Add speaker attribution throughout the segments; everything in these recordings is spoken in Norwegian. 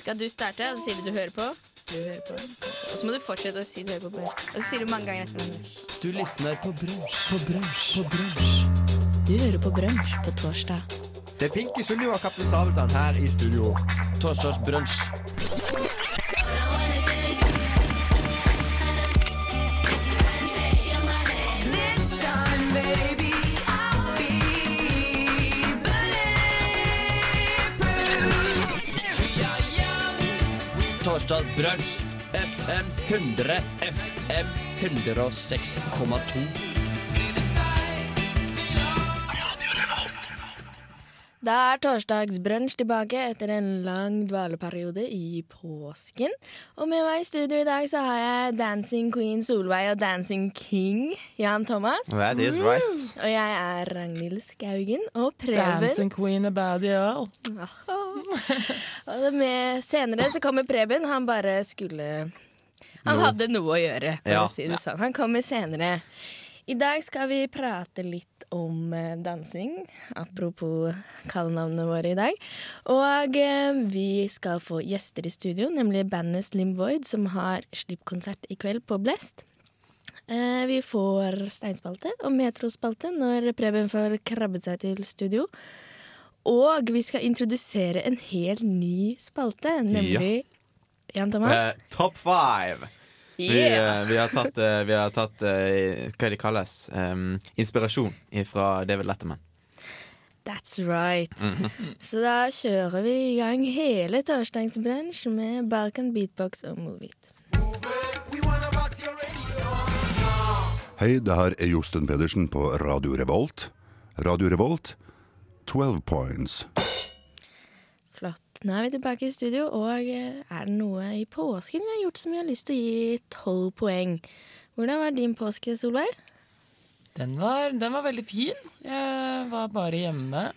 Speaker 1: Skal du starte, og så sier du du hører på. Du hører på. Og så må du fortsette å si du hører på. Brunch. Og så sier du mange ganger etter hverandre.
Speaker 2: Du lysner på brunsj, på brunsj, på brunsj.
Speaker 3: Du hører på Brunsj på torsdag.
Speaker 4: Det er Pinky Sunniva og Kaptein Sabeltann her i studio.
Speaker 2: Torsdagsbrunsj. Torsdagsbrunsj. FM 100. FM 106,2.
Speaker 1: Da er torsdagsbrunsj tilbake etter en lang dvaleperiode i påsken. Og med meg i studio i dag så har jeg Dancing Queen Solveig og Dancing King Jan Thomas.
Speaker 4: That is right.
Speaker 1: Og jeg er Ragnhild Skaugen og Preben.
Speaker 5: Dancing queen of badial.
Speaker 1: Og det med senere så kommer Preben. Han bare skulle Han hadde noe å gjøre, for
Speaker 4: Ja.
Speaker 1: å si det sånn. Han kommer senere. I dag skal vi prate litt om eh, dansing. Apropos kallenavnene våre i dag. Og eh, vi skal få gjester i studio, nemlig bandet Slim Void, som har slippkonsert i kveld på Blest. Eh, Vi får steinspalte og metrospalte når Preben får krabbet seg til studio. Og vi skal introdusere en helt ny spalte, nemlig Jan Thomas.
Speaker 4: Eh, top five. Vi,
Speaker 1: Yeah.
Speaker 4: eh, vi har tatt, eh, vi har tatt eh, hva de kalles, em, inspirasjon fra David Letterman.
Speaker 1: That's right. Så da kjører vi i gang hele torsdagens brunsj med Balkan beatbox og Move It.
Speaker 6: Hei, det her er Josten Pedersen på Radio Revolt. Radio Revolt, 12 points.
Speaker 1: Flott. Nå er vi tilbake i studio, og eh, er det noe i påsken vi har gjort som vi har lyst til å gi tolv poeng? Hvordan var din påske, Solveig?
Speaker 5: Den var, den var veldig fin. Jeg var bare hjemme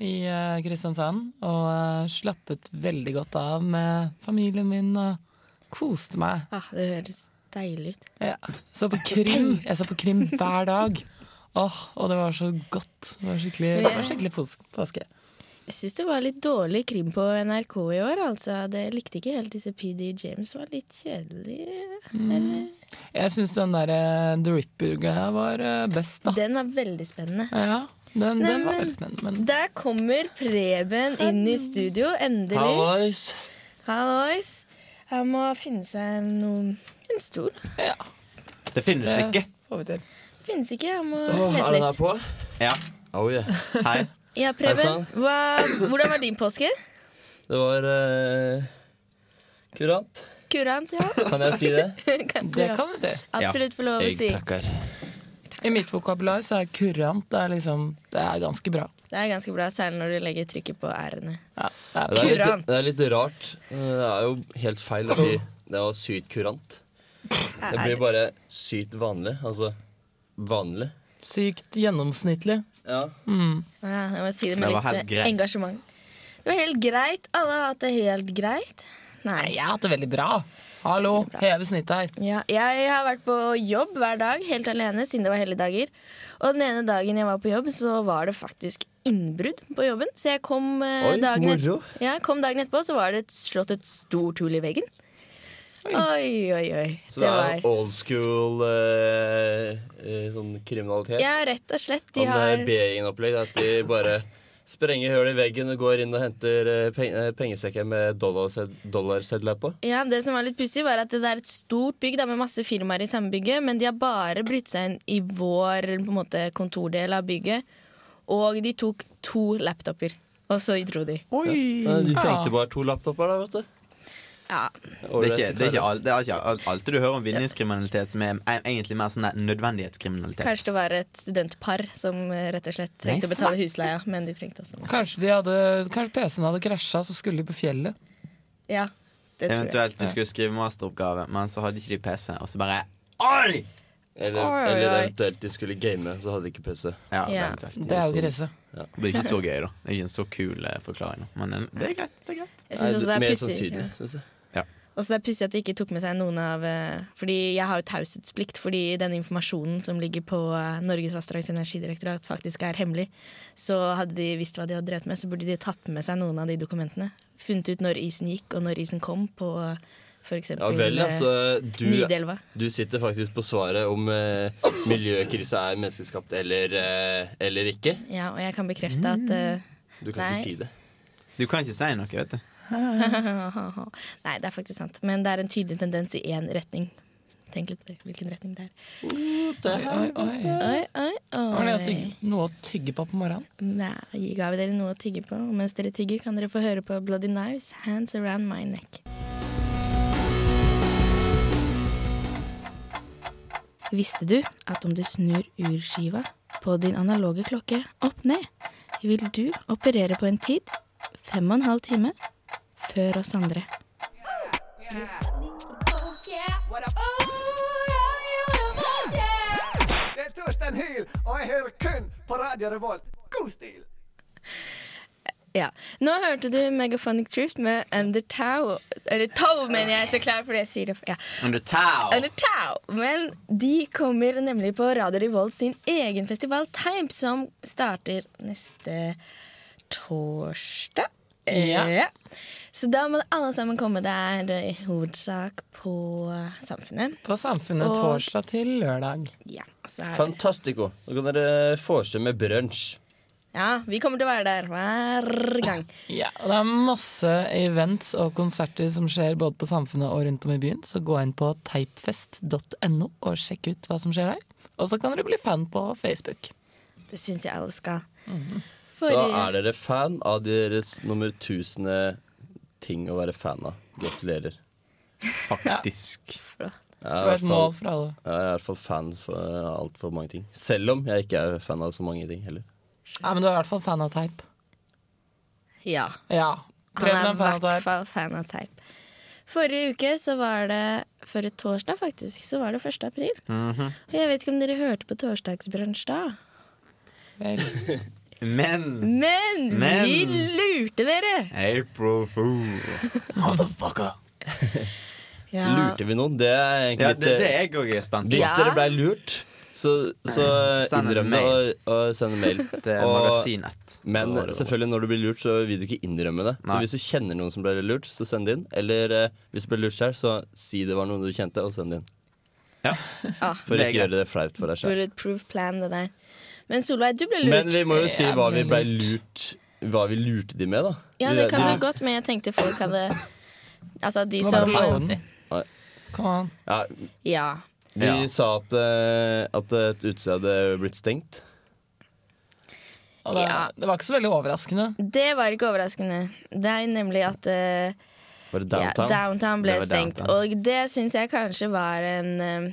Speaker 5: i eh, Kristiansand og eh, slappet veldig godt av med familien min og koste meg.
Speaker 1: Ah, det høres deilig ut.
Speaker 5: Ja. Så på krim. Jeg så på krim hver dag. Åh, og det var så godt. Det var skikkelig, det var skikkelig pos påske.
Speaker 1: Jeg syns det var litt dårlig krim på NRK i år, altså. Det likte ikke helt disse PD James. Var litt kjedelig.
Speaker 5: Jeg syns den der eh, The Ripper-greia var eh, best, da.
Speaker 1: Den var veldig spennende.
Speaker 5: Ja, den, den var
Speaker 1: Neimen,
Speaker 5: veldig spennende. Men
Speaker 1: Der kommer Preben inn i studio, endelig.
Speaker 2: Hallois.
Speaker 1: Hallois. Han må finne seg noe En stol.
Speaker 5: ja,
Speaker 4: Det finnes
Speaker 5: det
Speaker 4: ikke.
Speaker 5: får vi til.
Speaker 1: Finnes ikke, han må
Speaker 2: Åh,
Speaker 1: lete
Speaker 2: er den her
Speaker 1: litt.
Speaker 2: på?
Speaker 4: Ja,
Speaker 2: Oh, yeah.
Speaker 4: hei.
Speaker 1: Ja,
Speaker 2: Er det sant?
Speaker 1: Preben, hva, hvordan var din påske?
Speaker 2: Det var eh, kurant.
Speaker 1: Kurant, ja.
Speaker 2: Kan jeg si det?
Speaker 1: Kan
Speaker 5: Det
Speaker 1: du
Speaker 5: kan vi si.
Speaker 1: absolutt få lov å si.
Speaker 2: takker.
Speaker 5: I mitt vokabular så er kurant det er liksom Det er ganske bra.
Speaker 1: Det er ganske bra, særlig når du legger trykket på r-ene.
Speaker 5: Ja, det er
Speaker 2: Det er, litt,
Speaker 1: Kurant.
Speaker 2: det er litt rart. Eh, Det er jo helt feil å si det var sykt kurant. Det blir bare sykt vanlig. Altså vanlig.
Speaker 5: sykt gjennomsnittlig.
Speaker 2: Ja.
Speaker 1: Ja, jeg må si det med
Speaker 4: Det var helt
Speaker 1: litt eh,
Speaker 4: greit.
Speaker 1: engasjement. Det var helt greit. Alle har hatt det helt greit. Nei.
Speaker 5: Jeg har hatt det veldig bra. Hallo, heve snittet her.
Speaker 1: Ja, jeg har vært på jobb hver dag, helt alene, siden det var helligdager. Og den ene dagen jeg var på jobb, så var det faktisk innbrudd på jobben. Så jeg kom, eh,
Speaker 2: Oi,
Speaker 1: dagen,
Speaker 2: moro.
Speaker 1: etterpå, ja, kom dagen etterpå, så var det et- slått et stort hull i veggen. Oi, oi, oi.
Speaker 2: Så det er
Speaker 1: var
Speaker 2: old school eh, eh, sånn kriminalitet.
Speaker 1: Ja, rett og slett. De
Speaker 2: Sånn eh,
Speaker 1: har
Speaker 2: B-ingen-opplegg. At de bare sprenger hull i veggen og går inn og henter eh, peng eh, pengesekker med dollarsed- dollarsedler på.
Speaker 1: Ja, Det som var litt pussig, var at det er et stort bygg da, med masse firmaer i samme bygget, men de har bare brytt seg inn i vår på en måte, kontordel av bygget. Og de tok to laptoper, og så dro de.
Speaker 2: Men de trengte bare to laptoper, da, vet du.
Speaker 1: Ja,
Speaker 4: Det er ikke, det er ikke, al- det er ikke al- alltid du hører om vinningskriminalitet som er e- egentlig mer sånn der nødvendighetskriminalitet.
Speaker 1: Kanskje det var et studentpar som eh, rett og slett trengte å
Speaker 4: Nei,
Speaker 1: betale husleia, men de trengte også
Speaker 5: Kanskje, de hadde, kanskje PC-en hadde krasja, så skulle de på fjellet.
Speaker 1: Ja, det tror jeg.
Speaker 4: Eventuelt de skulle skrive masteroppgave, men så hadde ikke de PC, og så bare Oi!
Speaker 2: Eller,
Speaker 1: Oi, oi,
Speaker 2: eller
Speaker 1: oi.
Speaker 2: eventuelt de skulle game, så hadde de ikke PC.
Speaker 4: Ja,
Speaker 1: Ja.
Speaker 4: eventuelt.
Speaker 5: Det er jo krise.
Speaker 4: Det er ikke så gøy, da. Det er ikke en så kul eh, forklaring. da. Men eh, det er greit. det er greit
Speaker 1: Jeg synes også det
Speaker 2: Mer
Speaker 1: er pussig.
Speaker 2: sannsynlig,
Speaker 1: Ja.
Speaker 2: synes jeg.
Speaker 1: Og så det er pussig at de ikke tok med seg noen av eh, Fordi jeg har jo taushetsplikt fordi den informasjonen som ligger på eh, Norges vassdrags- og energidirektorat faktisk er hemmelig. Så hadde de visst hva de hadde drevet med, så burde de tatt med seg noen av de dokumentene. Funnet ut når isen gikk og når isen kom på eh, f.eks.
Speaker 2: Ja vel, altså. Du,
Speaker 1: eh, Nidelva.
Speaker 2: du sitter faktisk på svaret om eh, miljøkrisa er menneskeskapt eller, eh, eller ikke.
Speaker 1: Ja, og jeg kan bekrefte
Speaker 4: Mm.
Speaker 1: at eh,
Speaker 2: Du kan
Speaker 1: Nei.
Speaker 2: ikke si det.
Speaker 4: Du kan ikke si noe, vet du.
Speaker 1: Nei, det er faktisk sant. Men det er en tydelig tendens i én retning. Tenk litt på det, hvilken retning det er.
Speaker 5: Oi, oi.
Speaker 1: Oi, oi,
Speaker 5: Var
Speaker 1: oi.
Speaker 5: det at du- noe å tygge på på morgenen?
Speaker 1: Nei, ga vi dere noe å tygge på. Og mens dere tygger, kan dere få høre på Bloody Knives, Hands Around My Neck.
Speaker 3: Visste du at om du snur urskiva på din analoge klokke opp ned, vil du operere på en tid fem og en halv time før oss andre?
Speaker 7: Det er Torstein Hyl, og jeg hører kun på Radio Revolt. God stil!
Speaker 1: Ja. Nå hørte du Megaphonic Truth med Under Tau. Eller Tau, mener jeg, så klar fordi jeg sier det. Ja.
Speaker 4: Under tau!
Speaker 1: Under Tau. Men de kommer nemlig på Radio Revolt sin egen festival, Time, som starter neste torsdag.
Speaker 5: Ja.
Speaker 1: Så da må alle sammen komme. Det er eh, i hovedsak på Samfunnet.
Speaker 5: På Samfunnet
Speaker 1: Og-
Speaker 5: torsdag til lørdag.
Speaker 1: Ja, så er det.
Speaker 2: Fantastico. Nå kan dere forestille med brunsj.
Speaker 1: ja, vi kommer til å være der hver gang.
Speaker 5: Ja, og det er masse events og konserter som skjer både på Samfunnet og rundt om i byen, så gå inn på teipfest.no og sjekk ut hva som skjer der. Og så kan dere bli fan på Facebook.
Speaker 1: Det syns jeg alle skal.
Speaker 2: Mhm. Så er dere fan av deres nummer tusende ting å være fan av. Gratulerer.
Speaker 4: Faktisk.
Speaker 2: Jeg er,
Speaker 5: Det
Speaker 2: i
Speaker 5: var
Speaker 2: hvert
Speaker 5: et mål
Speaker 2: fall,
Speaker 5: for alle.
Speaker 2: jeg er i hvert fall fan for altfor mange ting. Selv om jeg ikke er fan av så mange ting heller.
Speaker 5: Ja, men du er i hvert fall fan av teip.
Speaker 1: Ja.
Speaker 5: Ja.
Speaker 1: Han er i
Speaker 5: Preben er fan av
Speaker 1: hvert
Speaker 5: teip.
Speaker 1: fall fan av teip. Forrige uke så var det Forrige torsdag, faktisk, så var det 1. april.
Speaker 2: Mhm.
Speaker 1: Og jeg vet ikke om dere hørte på torsdagsbrunsj da.
Speaker 5: Vel.
Speaker 4: Men
Speaker 1: Men,
Speaker 4: Men-
Speaker 1: vi lurte dere!
Speaker 4: April Fool.
Speaker 1: Ja,
Speaker 2: Lurte vi noen? Det er egentlig
Speaker 4: Ja, det, det
Speaker 2: litt, eh,
Speaker 4: er jeg òg spent på.
Speaker 2: Hvis
Speaker 1: Ja.
Speaker 2: dere ble lurt, så, så eh,
Speaker 4: Send en
Speaker 2: innrøm det
Speaker 4: mail.
Speaker 2: og, og send en mail.
Speaker 4: Det er
Speaker 2: Og,
Speaker 4: Magasinett.
Speaker 2: men selvfølgelig når du blir lurt, så vil du ikke innrømme det. Så
Speaker 4: Nei.
Speaker 2: hvis du kjenner noen som ble lurt, så send det inn. Eller eh, hvis du ble lurt selv, så si det var noen du kjente, og send det inn.
Speaker 4: Ja.
Speaker 1: Ja.
Speaker 2: For
Speaker 4: Det er
Speaker 2: ikke
Speaker 4: greit.
Speaker 2: gjøre det flaut for deg selv.
Speaker 1: Bulletproof plan, det der. Men Solveig, du ble lurt.
Speaker 2: Men vi må jo si hva vi
Speaker 5: Jævlig
Speaker 2: ble lurt Hva vi lurte de med, da.
Speaker 1: ja, det kan du godt, men jeg tenkte folk hadde Altså de
Speaker 5: Hva var det for
Speaker 1: som
Speaker 5: noen?
Speaker 2: Nei.
Speaker 5: Kom an.
Speaker 2: Ja,
Speaker 1: Ja.
Speaker 2: vi
Speaker 4: Ja.
Speaker 2: sa at, eh, at et utested hadde blitt stengt.
Speaker 5: Og det,
Speaker 1: Ja.
Speaker 5: det var ikke så veldig overraskende.
Speaker 1: Det var ikke overraskende. Det er nemlig at eh,
Speaker 2: Var det
Speaker 1: Ja,
Speaker 2: downtown?
Speaker 1: downtown ble
Speaker 4: Det var
Speaker 1: stengt.
Speaker 4: downtown.
Speaker 1: Og det syns jeg kanskje var en eh,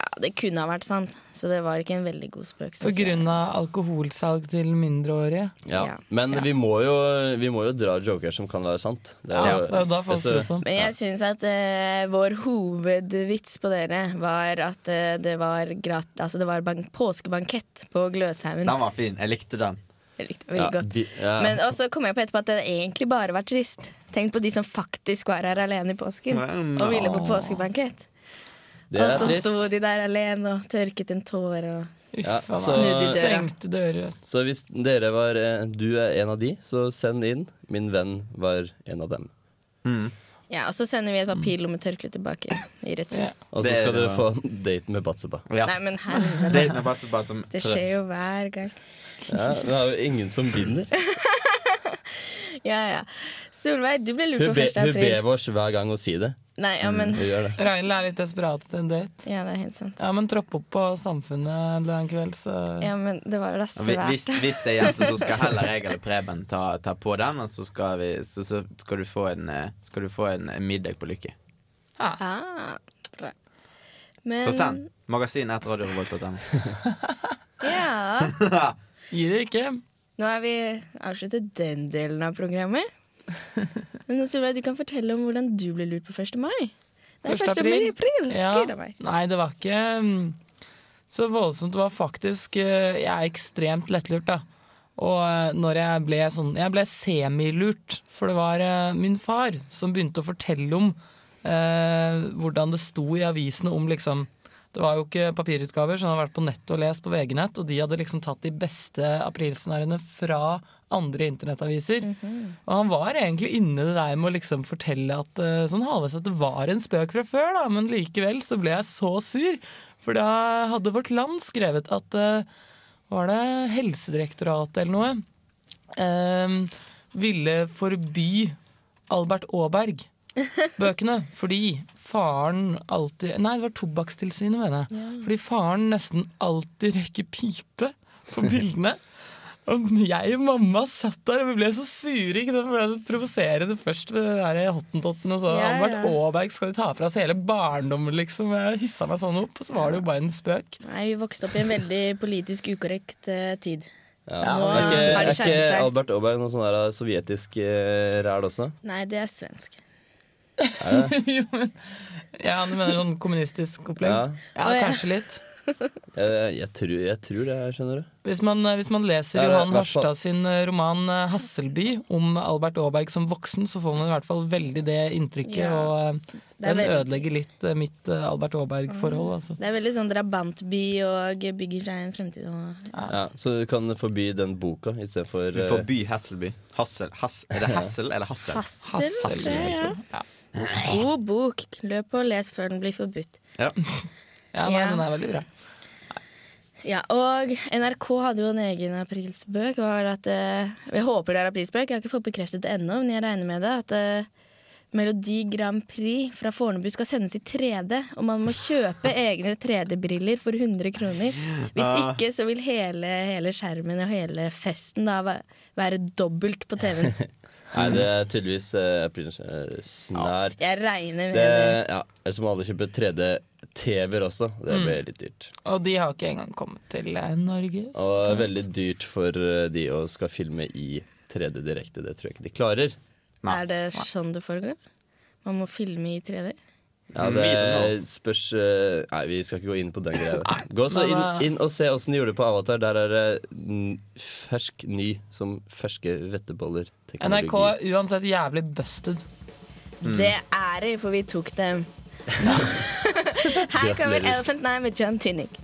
Speaker 1: ja, Det kunne ha vært sant, så det var ikke en veldig god spøk.
Speaker 5: På
Speaker 1: synes jeg.
Speaker 5: grunn av alkoholsalg til mindreårige.
Speaker 2: Ja.
Speaker 1: Ja.
Speaker 2: Men
Speaker 1: Ja.
Speaker 2: Vi, må jo, vi må jo dra joker som kan være sant. Det
Speaker 5: Ja, det er jo da folk
Speaker 2: altså,
Speaker 5: tror på den.
Speaker 1: Men jeg syns at eh, vår hovedvits på dere var at eh, det var, grat altså, det var bank påskebankett på Gløshaugen.
Speaker 4: Den var fin. Jeg likte den.
Speaker 1: Jeg likte det veldig
Speaker 2: ja,
Speaker 1: godt.
Speaker 2: vi, ja.
Speaker 1: Men og så kom jeg på etterpå at det egentlig bare var trist. Tenk på de som faktisk var her alene i påsken og ville på påskebankett.
Speaker 2: det
Speaker 1: Og
Speaker 2: er
Speaker 1: så
Speaker 2: trist.
Speaker 1: sto de der alene og tørket en tåre og
Speaker 5: Uff,
Speaker 2: Ja,
Speaker 5: ja,
Speaker 2: så-
Speaker 1: Snudd i døra.
Speaker 5: Stengte dører.
Speaker 2: Så hvis dere var eh, Du er en av de, så send inn 'Min venn var en av dem'.
Speaker 1: Ja, og så sender vi et papirlommetørkle tilbake i retur.
Speaker 5: Ja.
Speaker 2: Og så
Speaker 4: Det-
Speaker 2: skal dere få en date med Batseba.
Speaker 4: Ja.
Speaker 1: Nei, men herre,
Speaker 4: Det er bare, bare som
Speaker 1: det skjer jo
Speaker 4: trøst.
Speaker 1: hver gang.
Speaker 2: Ja, det er jo ingen som vinner.
Speaker 1: Ja, ja. Solveig, du ble lurt
Speaker 2: Hun,
Speaker 1: på
Speaker 2: be,
Speaker 1: 1.
Speaker 2: hun Mm.
Speaker 1: april.
Speaker 2: ber oss hver gang å si det.
Speaker 1: Nei, ja, men
Speaker 2: Hun gjør det.
Speaker 5: Ragnhild er litt desperat til en date.
Speaker 1: Ja, det er helt sant.
Speaker 5: Ja, men tropp opp på Samfunnet en kveld, så
Speaker 1: Ja, men det var da
Speaker 4: Og vi- Hvis,
Speaker 1: svært.
Speaker 4: hvis det er jente, så skal heller jeg eller Preben ta, ta på den, og så skal, vi, så, så skal, du få en, eh, skal du få en middag på Lykke.
Speaker 1: Ah, bra. Men
Speaker 4: Så send. Magasin etter radiorevolt.no.
Speaker 1: Ja.
Speaker 5: gir det ikke.
Speaker 1: Nå har vi avsluttet den delen av programmet. Men Solveig, du kan fortelle om hvordan du ble lurt på 1. mai. Det er 1. april.
Speaker 5: Ja.
Speaker 1: Gleder meg.
Speaker 5: Nei, det var ikke mm, så voldsomt. Det var faktisk eh, Jeg er ekstremt lettlurt, da. Og eh, når jeg ble sånn Jeg ble semilurt, for det var eh, min far som begynte å fortelle om eh, hvordan det sto i avisene om liksom Det var jo ikke papirutgaver, så han hadde vært på nett og lest på VG-nett, og de hadde liksom tatt de beste aprilscenarioene fra andre internettaviser. Og han var egentlig inne i det der med å liksom fortelle at eh, sånn halvveis at det var en spøk fra før, da, men likevel så ble jeg så sur. For da hadde Vårt Land skrevet at eh, var det Helsedirektoratet eller noe, eh, ville forby Albert Aaberg bøkene, fordi faren alltid Nei, det var Tobakkstilsynet, mener jeg. Fordi faren nesten alltid røyker pipe på bildene. Og jeg og mamma satt der, og vi ble så sure. Ikke sant? For Det er så provoserende først med det der hottentotten, og så
Speaker 1: Ja,
Speaker 5: Albert
Speaker 1: ja.
Speaker 5: Aaberg skal de ta fra oss hele barndommen, liksom. Jeg hissa meg sånn opp, og så var det jo bare en spøk.
Speaker 1: Nei, vi vokste opp i en veldig politisk ukorrekt eh, tid.
Speaker 2: Ja.
Speaker 1: Nå
Speaker 2: Er ikke,
Speaker 1: har
Speaker 2: er
Speaker 1: de
Speaker 2: ikke
Speaker 1: skjermet seg.
Speaker 2: Albert Aaberg noe sånn der eh, sovjetisk eh, ræl også?
Speaker 1: Nei, det er svensk.
Speaker 5: Jo, men- ja, du mener sånn kommunistisk opplegg?
Speaker 2: Ja.
Speaker 5: Ja,
Speaker 1: Å, ja.
Speaker 5: kanskje litt.
Speaker 2: Jeg, jeg, tror, jeg tror det, skjønner du.
Speaker 5: Hvis man, eh, hvis man leser
Speaker 2: Det er i
Speaker 5: Johan
Speaker 2: hvert fall-
Speaker 5: Harstad sin eh, roman eh, 'Hasselby' om Albert Aaberg som voksen, så får man i hvert fall veldig det inntrykket.
Speaker 1: Ja.
Speaker 5: Og eh,
Speaker 1: Det er
Speaker 5: den
Speaker 1: veldig-
Speaker 5: ødelegger litt eh, mitt eh, Albert Aaberg-forhold. Altså.
Speaker 1: Det er veldig sånn drabantby og bygger seg en fremtid. Og
Speaker 2: Ja, så du kan forby den boka istedenfor
Speaker 4: Du får by Hasselby. Hassel, hass, er det Hassel eller Hassel?
Speaker 1: hassel,
Speaker 5: Hassel,
Speaker 1: kanskje.
Speaker 5: jeg
Speaker 1: Ja.
Speaker 5: tror. Ja.
Speaker 1: God bok. Løp og les før den blir forbudt.
Speaker 4: Ja.
Speaker 5: Ja, nei,
Speaker 1: Ja.
Speaker 5: den er veldig bra.
Speaker 1: Ja, og NRK hadde jo en egen aprilsbøk. Var at, eh, jeg håper det er aprilsbøk, jeg har ikke fått bekreftet det ennå, men jeg regner med det. At eh, Melodi Grand Prix fra Fornebu skal sendes i 3D, og man må kjøpe egne 3D-briller for 100 kroner. Hvis ikke så vil hele, hele skjermen og hele festen da væ- være dobbelt på TV-en.
Speaker 2: Nei, det
Speaker 1: Mm.
Speaker 2: er tydeligvis eh, aprilens eh, snær.
Speaker 1: Jeg regner med
Speaker 2: Det,
Speaker 1: det.
Speaker 2: ja, Ellers må alle kjøpe 3D-TV-er også. Det
Speaker 1: Mm.
Speaker 2: blir litt dyrt.
Speaker 5: Og de har ikke engang kommet til eh, Norge. så-
Speaker 2: Og det er veldig dyrt for eh, de å skal filme i 3D direkte. Det tror jeg ikke de klarer.
Speaker 4: Nei.
Speaker 1: Er det sånn det foregår? Man må filme i 3D?
Speaker 2: Ja, det spørs eh, Nei, vi skal ikke gå inn på den greia. Gå så inn,
Speaker 5: Men, eh,
Speaker 2: inn og se åssen de gjorde det på Avatar. Der er det n- fersk ny som ferske vetteboller.
Speaker 5: NRK
Speaker 2: Teknologi.
Speaker 5: er uansett jævlig busted.
Speaker 2: Mm.
Speaker 1: Det er de, for vi tok dem. Her kommer
Speaker 2: Gratulerer.
Speaker 1: Elephant Night med John Tinnick.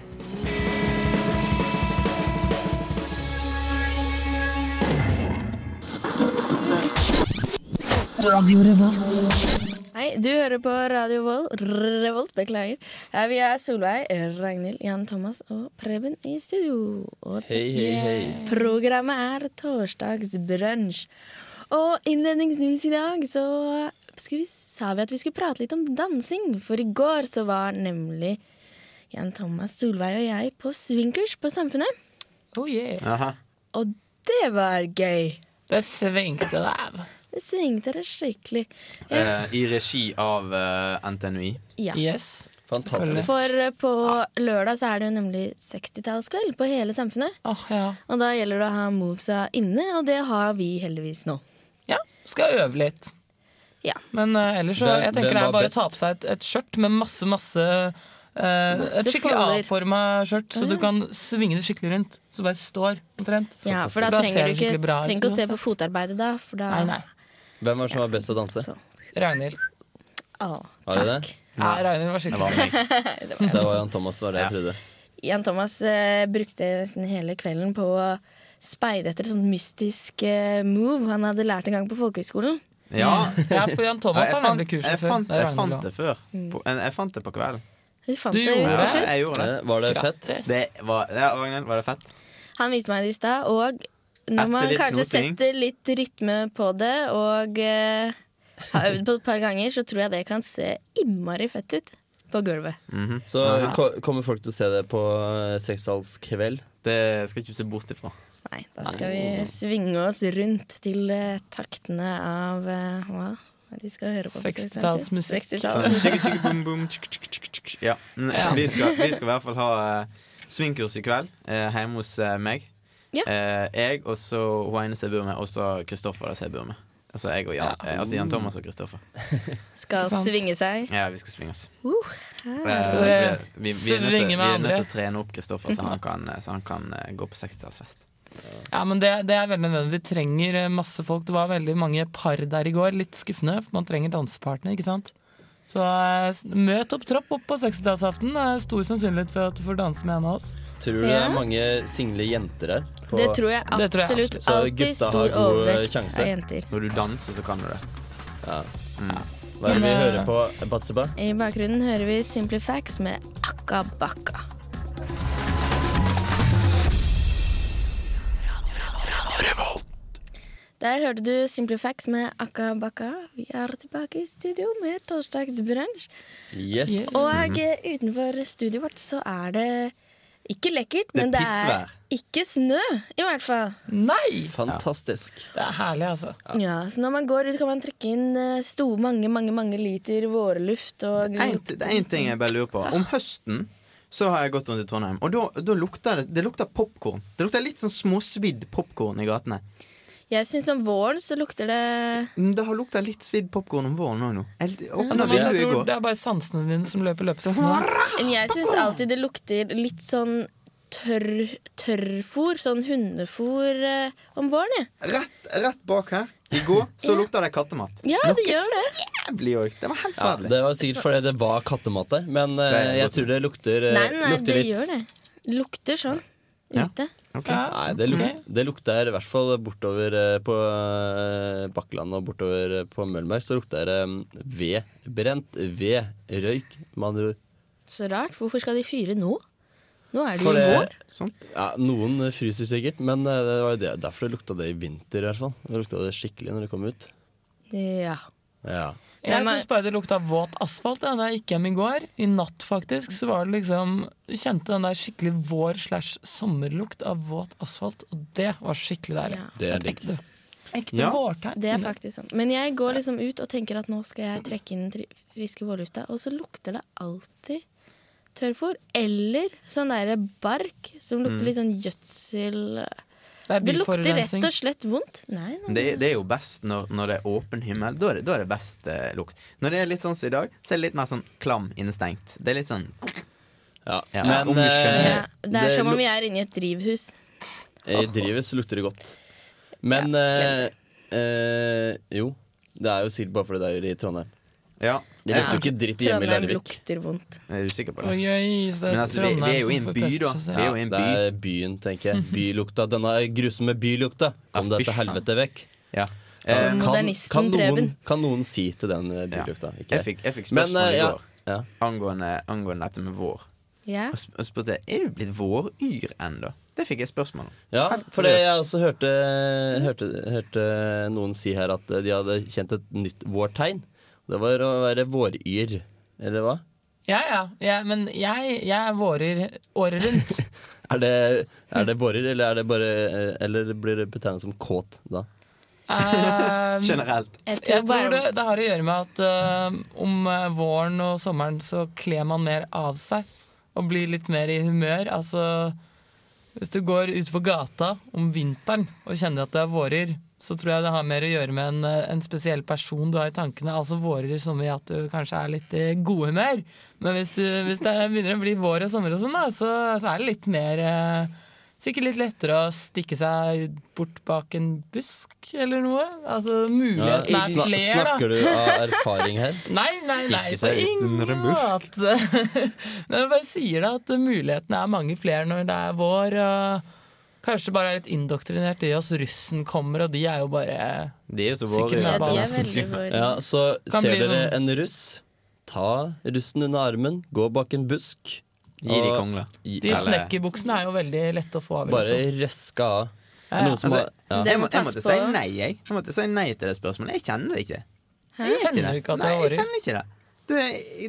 Speaker 1: Hei, du hører på Radio Volt. Revolt, beklager. Her vi er Solveig, Ragnhild, Jan Thomas og Preben i studio. Og
Speaker 2: Hei, hei, hei.
Speaker 1: Programmet er torsdagsbrunsj. Og innledningsvis i dag så skulle vi, sa vi at vi skulle prate litt om dansing. For i går så var nemlig Jan Thomas Solveig og jeg på swingkurs på Samfunnet.
Speaker 5: Oh yeah.
Speaker 4: Aha.
Speaker 1: Og det var gøy!
Speaker 5: Det svingte der.
Speaker 1: Det svingte det skikkelig.
Speaker 4: Eh, I regi av eh, NTNUI.
Speaker 1: Ja.
Speaker 5: Yes.
Speaker 2: Fantastisk.
Speaker 1: For eh, på lørdag så er det jo nemlig 60-tallskveld på hele Samfunnet.
Speaker 5: Åh, ja.
Speaker 1: Og da gjelder det å ha movesa inne, og det har vi heldigvis nå.
Speaker 5: ja. Skal øve litt.
Speaker 1: Ja.
Speaker 5: Men eh, ellers så,
Speaker 2: Det-
Speaker 5: jeg
Speaker 2: hvem
Speaker 5: tenker det
Speaker 2: var
Speaker 5: er bare
Speaker 2: best?
Speaker 5: å ta på seg et, et skjørt med masse, masse eh, Et skikkelig
Speaker 1: folder.
Speaker 5: avforma skjørt, så du kan svinge det skikkelig rundt. Så du bare står omtrent.
Speaker 1: Ja, for da
Speaker 5: Da
Speaker 1: trenger
Speaker 5: ser
Speaker 1: du ikke,
Speaker 5: det skikkelig bra ut
Speaker 1: trenger ikke å se på
Speaker 5: uansett.
Speaker 1: fotarbeidet da, for da
Speaker 5: Nei, nei.
Speaker 2: Hvem var det som var best til å danse?
Speaker 1: Så. Ah.
Speaker 5: Ragnhild.
Speaker 1: Å,
Speaker 2: Altså. Var det det?
Speaker 5: Ja, Ragnhild var
Speaker 4: Det
Speaker 5: skikkelig
Speaker 4: var meg.
Speaker 2: Det var Jan Thomas, var det jeg trodde.
Speaker 1: Jan Thomas eh, brukte nesten hele kvelden på å speide etter et sånt mystisk eh, move han hadde lært en gang på folkehøyskolen.
Speaker 4: Ja.
Speaker 5: Ja, for Jan Thomas
Speaker 4: jeg
Speaker 5: har nemlig
Speaker 4: fant,
Speaker 5: kurset
Speaker 4: jeg
Speaker 5: før.
Speaker 4: fant,
Speaker 5: Det er
Speaker 4: jeg
Speaker 5: Ragnhild
Speaker 4: fant det før. På, en- jeg fant det på kvelden.
Speaker 1: Vi fant
Speaker 5: Du
Speaker 1: det
Speaker 5: gjorde
Speaker 1: ut
Speaker 4: Ja,
Speaker 1: til slutt.
Speaker 4: jeg gjorde det.
Speaker 2: Eh, Var det
Speaker 5: også.
Speaker 2: fett?
Speaker 5: Grattis.
Speaker 4: Det var, ja, Ragnhild, var det fett?
Speaker 1: Han viste meg det i stad, og når
Speaker 4: Etter
Speaker 1: man
Speaker 4: litt
Speaker 1: kanskje
Speaker 4: knoting.
Speaker 1: setter litt rytme på det og eh, har øvd på det et par ganger, så tror jeg det kan se innmari fett ut på gulvet.
Speaker 2: Så ko- kommer folk til å se det på eh, sekstallskveld?
Speaker 4: Det skal jeg ikke se bort ifra.
Speaker 1: Nei, da skal vi svinge oss rundt til eh, taktene av eh, hva er det vi skal høre på? på
Speaker 5: 60-tallsmusikk.
Speaker 1: 60-tallsmusikk.
Speaker 4: Tjikki, tjikki, bum, bum, tjikk, tjikk, tjikk, tjikk, tjikk. Ja. Mm,
Speaker 5: Ja.
Speaker 4: Vi, skal, vi skal i hvert fall ha eh, swingkurs i kveld eh, hjemme hos eh, meg.
Speaker 1: Ja.
Speaker 4: Eh, jeg og så hun ene som jeg bor med, og så Kristoffer som jeg bor med. Altså jeg og Jan, eh, altså Jan Thomas og Kristoffer.
Speaker 1: Skal
Speaker 5: Sant.
Speaker 1: svinge seg.
Speaker 4: Ja, vi skal svinge oss.
Speaker 1: Uh,
Speaker 4: Eh, vi, vi, vi, er nødt til,
Speaker 5: Svinge med
Speaker 4: vi er nødt til
Speaker 5: andre.
Speaker 4: å trene opp Kristoffer, så han kan, så han kan eh, gå på 60-tallsfest.
Speaker 5: Ja, men det, det er veldig nødvendig. Vi trenger eh, masse folk. Det var veldig mange par der i går. Litt skuffende, for man trenger dansepartner, ikke sant? Så eh, s- møt opp tropp opp på 60-tallsaften. Det er stor sannsynlighet for at du får danse med en av oss.
Speaker 2: Tror du det
Speaker 1: Ja.
Speaker 2: er mange single jenter her? på-
Speaker 1: Det tror jeg
Speaker 5: Det tror jeg
Speaker 1: absolutt.
Speaker 2: absolutt. Så gutta har
Speaker 1: Alltid stor
Speaker 2: god, eh,
Speaker 1: overvekt
Speaker 2: sjanse.
Speaker 1: av jenter.
Speaker 4: Når du danser, så kan du det.
Speaker 2: Hva er det vi
Speaker 5: Men, eh,
Speaker 2: hører på Batsuba?
Speaker 1: I bakgrunnen hører vi Simply Facts med Akka Bakka. Der hørte du Simply Facts med Akka Bakka. Vi er tilbake i studio med torsdagsbrunsj.
Speaker 2: Yes.
Speaker 1: Og eh, utenfor studioet vårt så er det ikke lekkert,
Speaker 4: er
Speaker 1: men det
Speaker 4: pissvær.
Speaker 1: er ikke snø, i hvert fall.
Speaker 5: Nei!
Speaker 2: Fantastisk.
Speaker 5: Det er herlig, altså.
Speaker 1: Ja, Så når man går ut, kan man trekke inn eh, sto, mange, mange mange liter vårluft og
Speaker 4: En, det er en ting jeg bare lurer på. Om høsten så har jeg gått rundt i Trondheim, og da, da lukter det Det lukter popkorn. Det lukter litt sånn småsvidd popkorn i gatene.
Speaker 1: Jeg syns om våren så lukter det
Speaker 4: Mm, Det har lukta litt svidd popkorn om våren òg nå. Jeg åpna
Speaker 5: Men altså,
Speaker 4: vinduet
Speaker 5: jeg
Speaker 4: i
Speaker 5: tror
Speaker 4: går.
Speaker 5: det er bare sansene dine som løper løpesken.
Speaker 1: Men jeg syns alltid det lukter litt sånn tørr tørrfôr, sånn hundefôr eh, om våren, jeg.
Speaker 4: Rett, rett bak her i går så lukta det kattemat.
Speaker 1: Ja,
Speaker 4: Noe
Speaker 1: det gjør det.
Speaker 4: så jævlig òg. Det var helt
Speaker 2: Ja,
Speaker 4: forferdelig.
Speaker 2: det var sikkert fordi det var kattemat der, men eh,
Speaker 4: Nei,
Speaker 2: jeg tror det lukter, eh,
Speaker 1: Nei, nei,
Speaker 2: lukter
Speaker 1: det
Speaker 2: litt
Speaker 1: gjør det. Det lukter sånn
Speaker 4: Ja.
Speaker 1: ute.
Speaker 4: Ok.
Speaker 2: Nei, det, luk
Speaker 5: Ok.
Speaker 2: det lukter i hvert fall bortover eh, på eh, Bakkeland og bortover eh, på Møllenberg. Så lukter det eh, ved. Brent ved. Røyk, med andre ord.
Speaker 1: Så rart. Hvorfor skal de fyre nå? Nå er det
Speaker 2: For
Speaker 1: jo
Speaker 2: det-
Speaker 1: vår.
Speaker 4: Sånt.
Speaker 2: Ja, noen fryser sikkert, men eh, det var jo det. derfor det lukta det i vinter. i hvert fall Det lukta det skikkelig når det kom ut.
Speaker 1: Ja.
Speaker 2: Ja.
Speaker 1: Nei,
Speaker 5: Jeg
Speaker 1: men-
Speaker 5: syns bare det lukta våt asfalt ja, da jeg gikk hjem i går. I natt, faktisk, så var det liksom Du kjente den der skikkelig vår slash sommerlukt av våt asfalt, og det var skikkelig deilig.
Speaker 1: Ja.
Speaker 2: Det er
Speaker 5: Et
Speaker 2: digg.
Speaker 5: ekte, ekte
Speaker 4: Ja.
Speaker 5: vårtegn.
Speaker 1: Det er faktisk sånn. Men jeg går liksom ut og tenker at nå skal jeg trekke inn den tri- friske vårlufta, og så lukter det alltid tørrfôr. Eller sånn derre bark som
Speaker 2: Mm.
Speaker 1: lukter litt sånn gjødsel
Speaker 5: Det er
Speaker 1: Det lukter
Speaker 5: bilforurensning.
Speaker 1: rett og slett vondt. Nei, nei.
Speaker 4: Det, det er jo best når, når det er åpen himmel. Da er det, da er det best eh, lukt. Når det er litt sånn som i dag, så er det litt mer sånn klam innestengt. Det er litt sånn
Speaker 2: Ja.
Speaker 4: Ja,
Speaker 2: Men
Speaker 4: om du skjønner.
Speaker 2: eh,
Speaker 1: Ja, det er som om
Speaker 2: luk-
Speaker 1: vi er inne i et drivhus.
Speaker 2: I drivet så lukter det godt. Men eh, eh, jo. Det er jo sikkert bare fordi det er i Trondheim.
Speaker 4: Ja.
Speaker 2: Det
Speaker 4: Jeg
Speaker 2: lukter jo ikke dritt hjemme i
Speaker 1: Trondheim
Speaker 2: Larvik.
Speaker 1: lukter vondt.
Speaker 4: er usikker på det.
Speaker 5: Oi, oi, så det
Speaker 4: Men altså, vi, vi er jo i en by, da.
Speaker 5: altså.
Speaker 4: Vi er jo i en
Speaker 2: det
Speaker 4: by. Mhm.
Speaker 2: er byen, tenker jeg. Bylukta. Denne grusomme bylukta. Kom
Speaker 4: Ja,
Speaker 2: deg
Speaker 4: fy
Speaker 2: til helvete vekk.
Speaker 4: Ja.
Speaker 1: Ja.
Speaker 4: Eh,
Speaker 2: Kan,
Speaker 1: Modernisten
Speaker 2: kan, noen,
Speaker 1: Preben.
Speaker 2: kan noen si til den eh,
Speaker 4: Ja.
Speaker 2: bylukta? Ikke
Speaker 4: jeg,
Speaker 2: jeg.
Speaker 4: fikk, jeg fikk
Speaker 2: Men,
Speaker 4: spørsmål
Speaker 2: eh, ja.
Speaker 4: i går
Speaker 2: Ja.
Speaker 4: angående, angående dette med vår.
Speaker 1: Ja.
Speaker 4: Og sp- og spurte er du blitt våryr ennå. Det fikk jeg spørsmål
Speaker 5: Mm.
Speaker 4: om.
Speaker 2: ja,
Speaker 4: Helt
Speaker 2: for det
Speaker 4: seriøst.
Speaker 2: jeg også hørte, hørte, hørte noen si her at eh, de hadde kjent et nytt vårtegn. Det var å være våryr, eller hva?
Speaker 5: Ja, ja, ja. Men jeg, jeg vårer året rundt.
Speaker 2: Er det, er det vårer, eller, er det bare, eh, eller blir det betegnet som kåt da?
Speaker 5: Um,
Speaker 4: Generelt.
Speaker 1: Jeg tror
Speaker 5: Jeg tror det,
Speaker 1: bare
Speaker 5: det har å gjøre med at øh, om øh, våren og sommeren så kler man mer av seg og blir litt mer i humør. Altså hvis du går ut på gata om vinteren og kjenner at du er vårer, så tror jeg det har mer å gjøre med en, øh, en spesiell person du har i tankene. Altså vårer som i at du kanskje er litt i godhumør. Men hvis, du, hvis det begynner å bli vår og sommer og sånn, da, så, så er det litt mer øh, Sikkert litt lettere å stikke seg bort bak en busk eller noe. Altså muligheten
Speaker 2: Ja,
Speaker 5: er
Speaker 2: sna-
Speaker 5: flere, da.
Speaker 2: snakker du av erfaring her?
Speaker 5: Nei, nei, nei,
Speaker 4: Stikke
Speaker 5: på
Speaker 4: seg ut under
Speaker 5: ingen
Speaker 4: en busk.
Speaker 5: måte. Men jeg bare sier det at mulighetene er mange flere når det er vår. Og kanskje bare er litt indoktrinert i oss. Russen kommer, og de er jo bare
Speaker 4: De er så
Speaker 5: Sikkert
Speaker 4: våryr.
Speaker 1: ja,
Speaker 5: med
Speaker 1: de
Speaker 5: banen,
Speaker 1: er veldig våre.
Speaker 2: Ja, så
Speaker 5: Kan
Speaker 2: ser
Speaker 5: bli
Speaker 2: dere
Speaker 5: sånn-
Speaker 2: en russ, ta russen under armen, gå bak en busk.
Speaker 4: Gir de
Speaker 2: og-
Speaker 4: kongler.
Speaker 2: gi-
Speaker 5: De
Speaker 4: Eller-
Speaker 5: snekkerbuksene er jo veldig lette å få av.
Speaker 2: Bare røske av.
Speaker 5: Ja, ja.
Speaker 2: Noen som
Speaker 4: Altså,
Speaker 2: har, ja.
Speaker 1: Det
Speaker 4: Jeg, må,
Speaker 1: må
Speaker 4: jeg
Speaker 1: passe
Speaker 4: måtte
Speaker 1: på.
Speaker 4: si nei, jeg. Jeg måtte si nei til det spørsmålet. Jeg kjenner det ikke. Jeg gjør
Speaker 5: Kjenner du ikke at det
Speaker 4: Nei,
Speaker 5: er
Speaker 4: jeg
Speaker 5: våryr?
Speaker 4: kjenner ikke det. Det,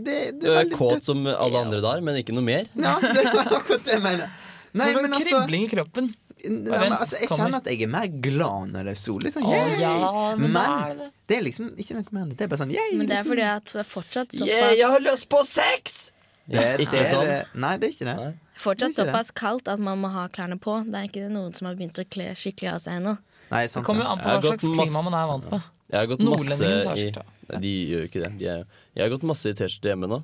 Speaker 4: det,
Speaker 2: Du
Speaker 4: det
Speaker 2: er
Speaker 4: veldig-
Speaker 2: kåt som alle andre der, men ikke noe mer.
Speaker 4: Ja, det er akkurat det jeg mener. Nei,
Speaker 5: Sånn
Speaker 4: men altså, nei,
Speaker 5: kribling i kroppen.
Speaker 4: men altså Jeg
Speaker 5: Kommer.
Speaker 4: kjenner at jeg er mer glad når det er sol. Liksom,
Speaker 5: Å,
Speaker 4: yay!
Speaker 5: ja, men da er
Speaker 4: men
Speaker 5: det det.
Speaker 4: det er liksom ikke noe mer enn det. Det er bare sånn yay,
Speaker 1: Men det er
Speaker 4: sol.
Speaker 1: fordi at det er fortsatt
Speaker 2: Yeah, jeg har
Speaker 1: såpass,
Speaker 2: lyst på sex!
Speaker 4: det, er-
Speaker 2: Ikke
Speaker 4: det er
Speaker 2: sånn.
Speaker 4: det- Nei, det er ikke det.
Speaker 2: Nei.
Speaker 1: fortsatt
Speaker 4: Det er ikke det.
Speaker 1: såpass kaldt at man må ha klærne på. Det er ikke noen som har begynt å kle skikkelig av seg ennå.
Speaker 4: Nei, sant,
Speaker 5: Det kommer jo an på
Speaker 2: Jeg har
Speaker 5: hva
Speaker 2: gått
Speaker 5: slags klima
Speaker 2: masse-
Speaker 5: man er vant med.
Speaker 2: Jeg har gått masse
Speaker 5: Nordlendingen tar
Speaker 2: i
Speaker 5: skjorta.
Speaker 2: Nei, De gjør jo ikke det. De er, jo- jeg har gått masse i T-skjorte hjemme nå.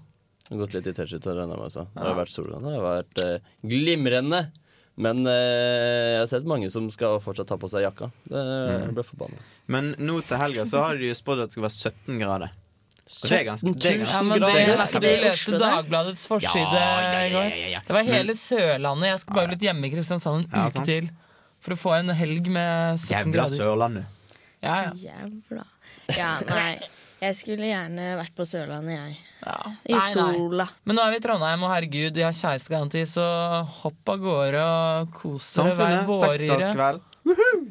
Speaker 2: Jeg har gått litt i T-skjorte og regnet meg også. Det har vært solvann. Det har vært eh, glimrende. Men eh, jeg har sett mange som skal fortsatt ta på seg
Speaker 5: Mm.
Speaker 2: jakka. Det jeg ble forbanna.
Speaker 4: Men nå til helga så har de jo spådd at det skal være 17 grader. Og det er ganske, det
Speaker 2: 17 000
Speaker 4: er ganske
Speaker 5: Ja, men det,
Speaker 2: grader.
Speaker 5: har ikke du
Speaker 1: Er det i
Speaker 5: leste
Speaker 1: Oslo der?
Speaker 5: Dagbladets forside i går? Det var hele Sørlandet. Jeg skulle bare blitt hjemme i Kristiansand en
Speaker 4: Ja,
Speaker 5: uke
Speaker 4: sant.
Speaker 5: til. For å få en helg med
Speaker 4: Jævla
Speaker 5: 17 grader.
Speaker 4: Sørlandet.
Speaker 5: Ja, ja.
Speaker 1: Jævla. Ja, nei. Jeg skulle gjerne vært på Sørlandet, jeg.
Speaker 5: Ja.
Speaker 1: I sola.
Speaker 5: Men nå er vi i Trondheim, og herregud, jeg har kjærestegaranti, så hopp av gårde og kos dere. Vær
Speaker 4: Samfunnet,
Speaker 5: vårere.
Speaker 4: seksdagskveld.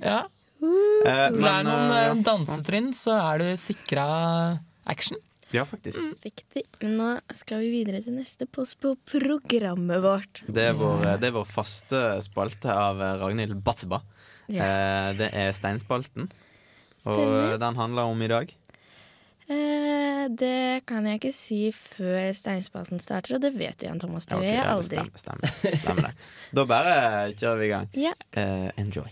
Speaker 5: Ja.
Speaker 4: Eh,
Speaker 5: Lær
Speaker 4: men,
Speaker 5: noen
Speaker 4: eh,
Speaker 5: eh, dansetrinn, så er du sikra action.
Speaker 4: Ja, faktisk.
Speaker 1: Riktig. Men nå skal vi videre til neste post på programmet vårt.
Speaker 4: Det er vår, eh, det er vår faste spalte av Ragnhild Batseba. Eh, Det er Steinspalten,
Speaker 1: Stemmer.
Speaker 4: og den handler om i dag.
Speaker 1: Eh, det kan jeg ikke si før steinspalten starter, og det vet du igjen, Thomas. Det
Speaker 4: Ja, ok,
Speaker 1: gjør jeg
Speaker 4: ja, det
Speaker 1: aldri.
Speaker 4: stemmer, Stemmer, stemmer det. Da bare kjører vi i gang.
Speaker 1: Ja.
Speaker 4: Eh, enjoy.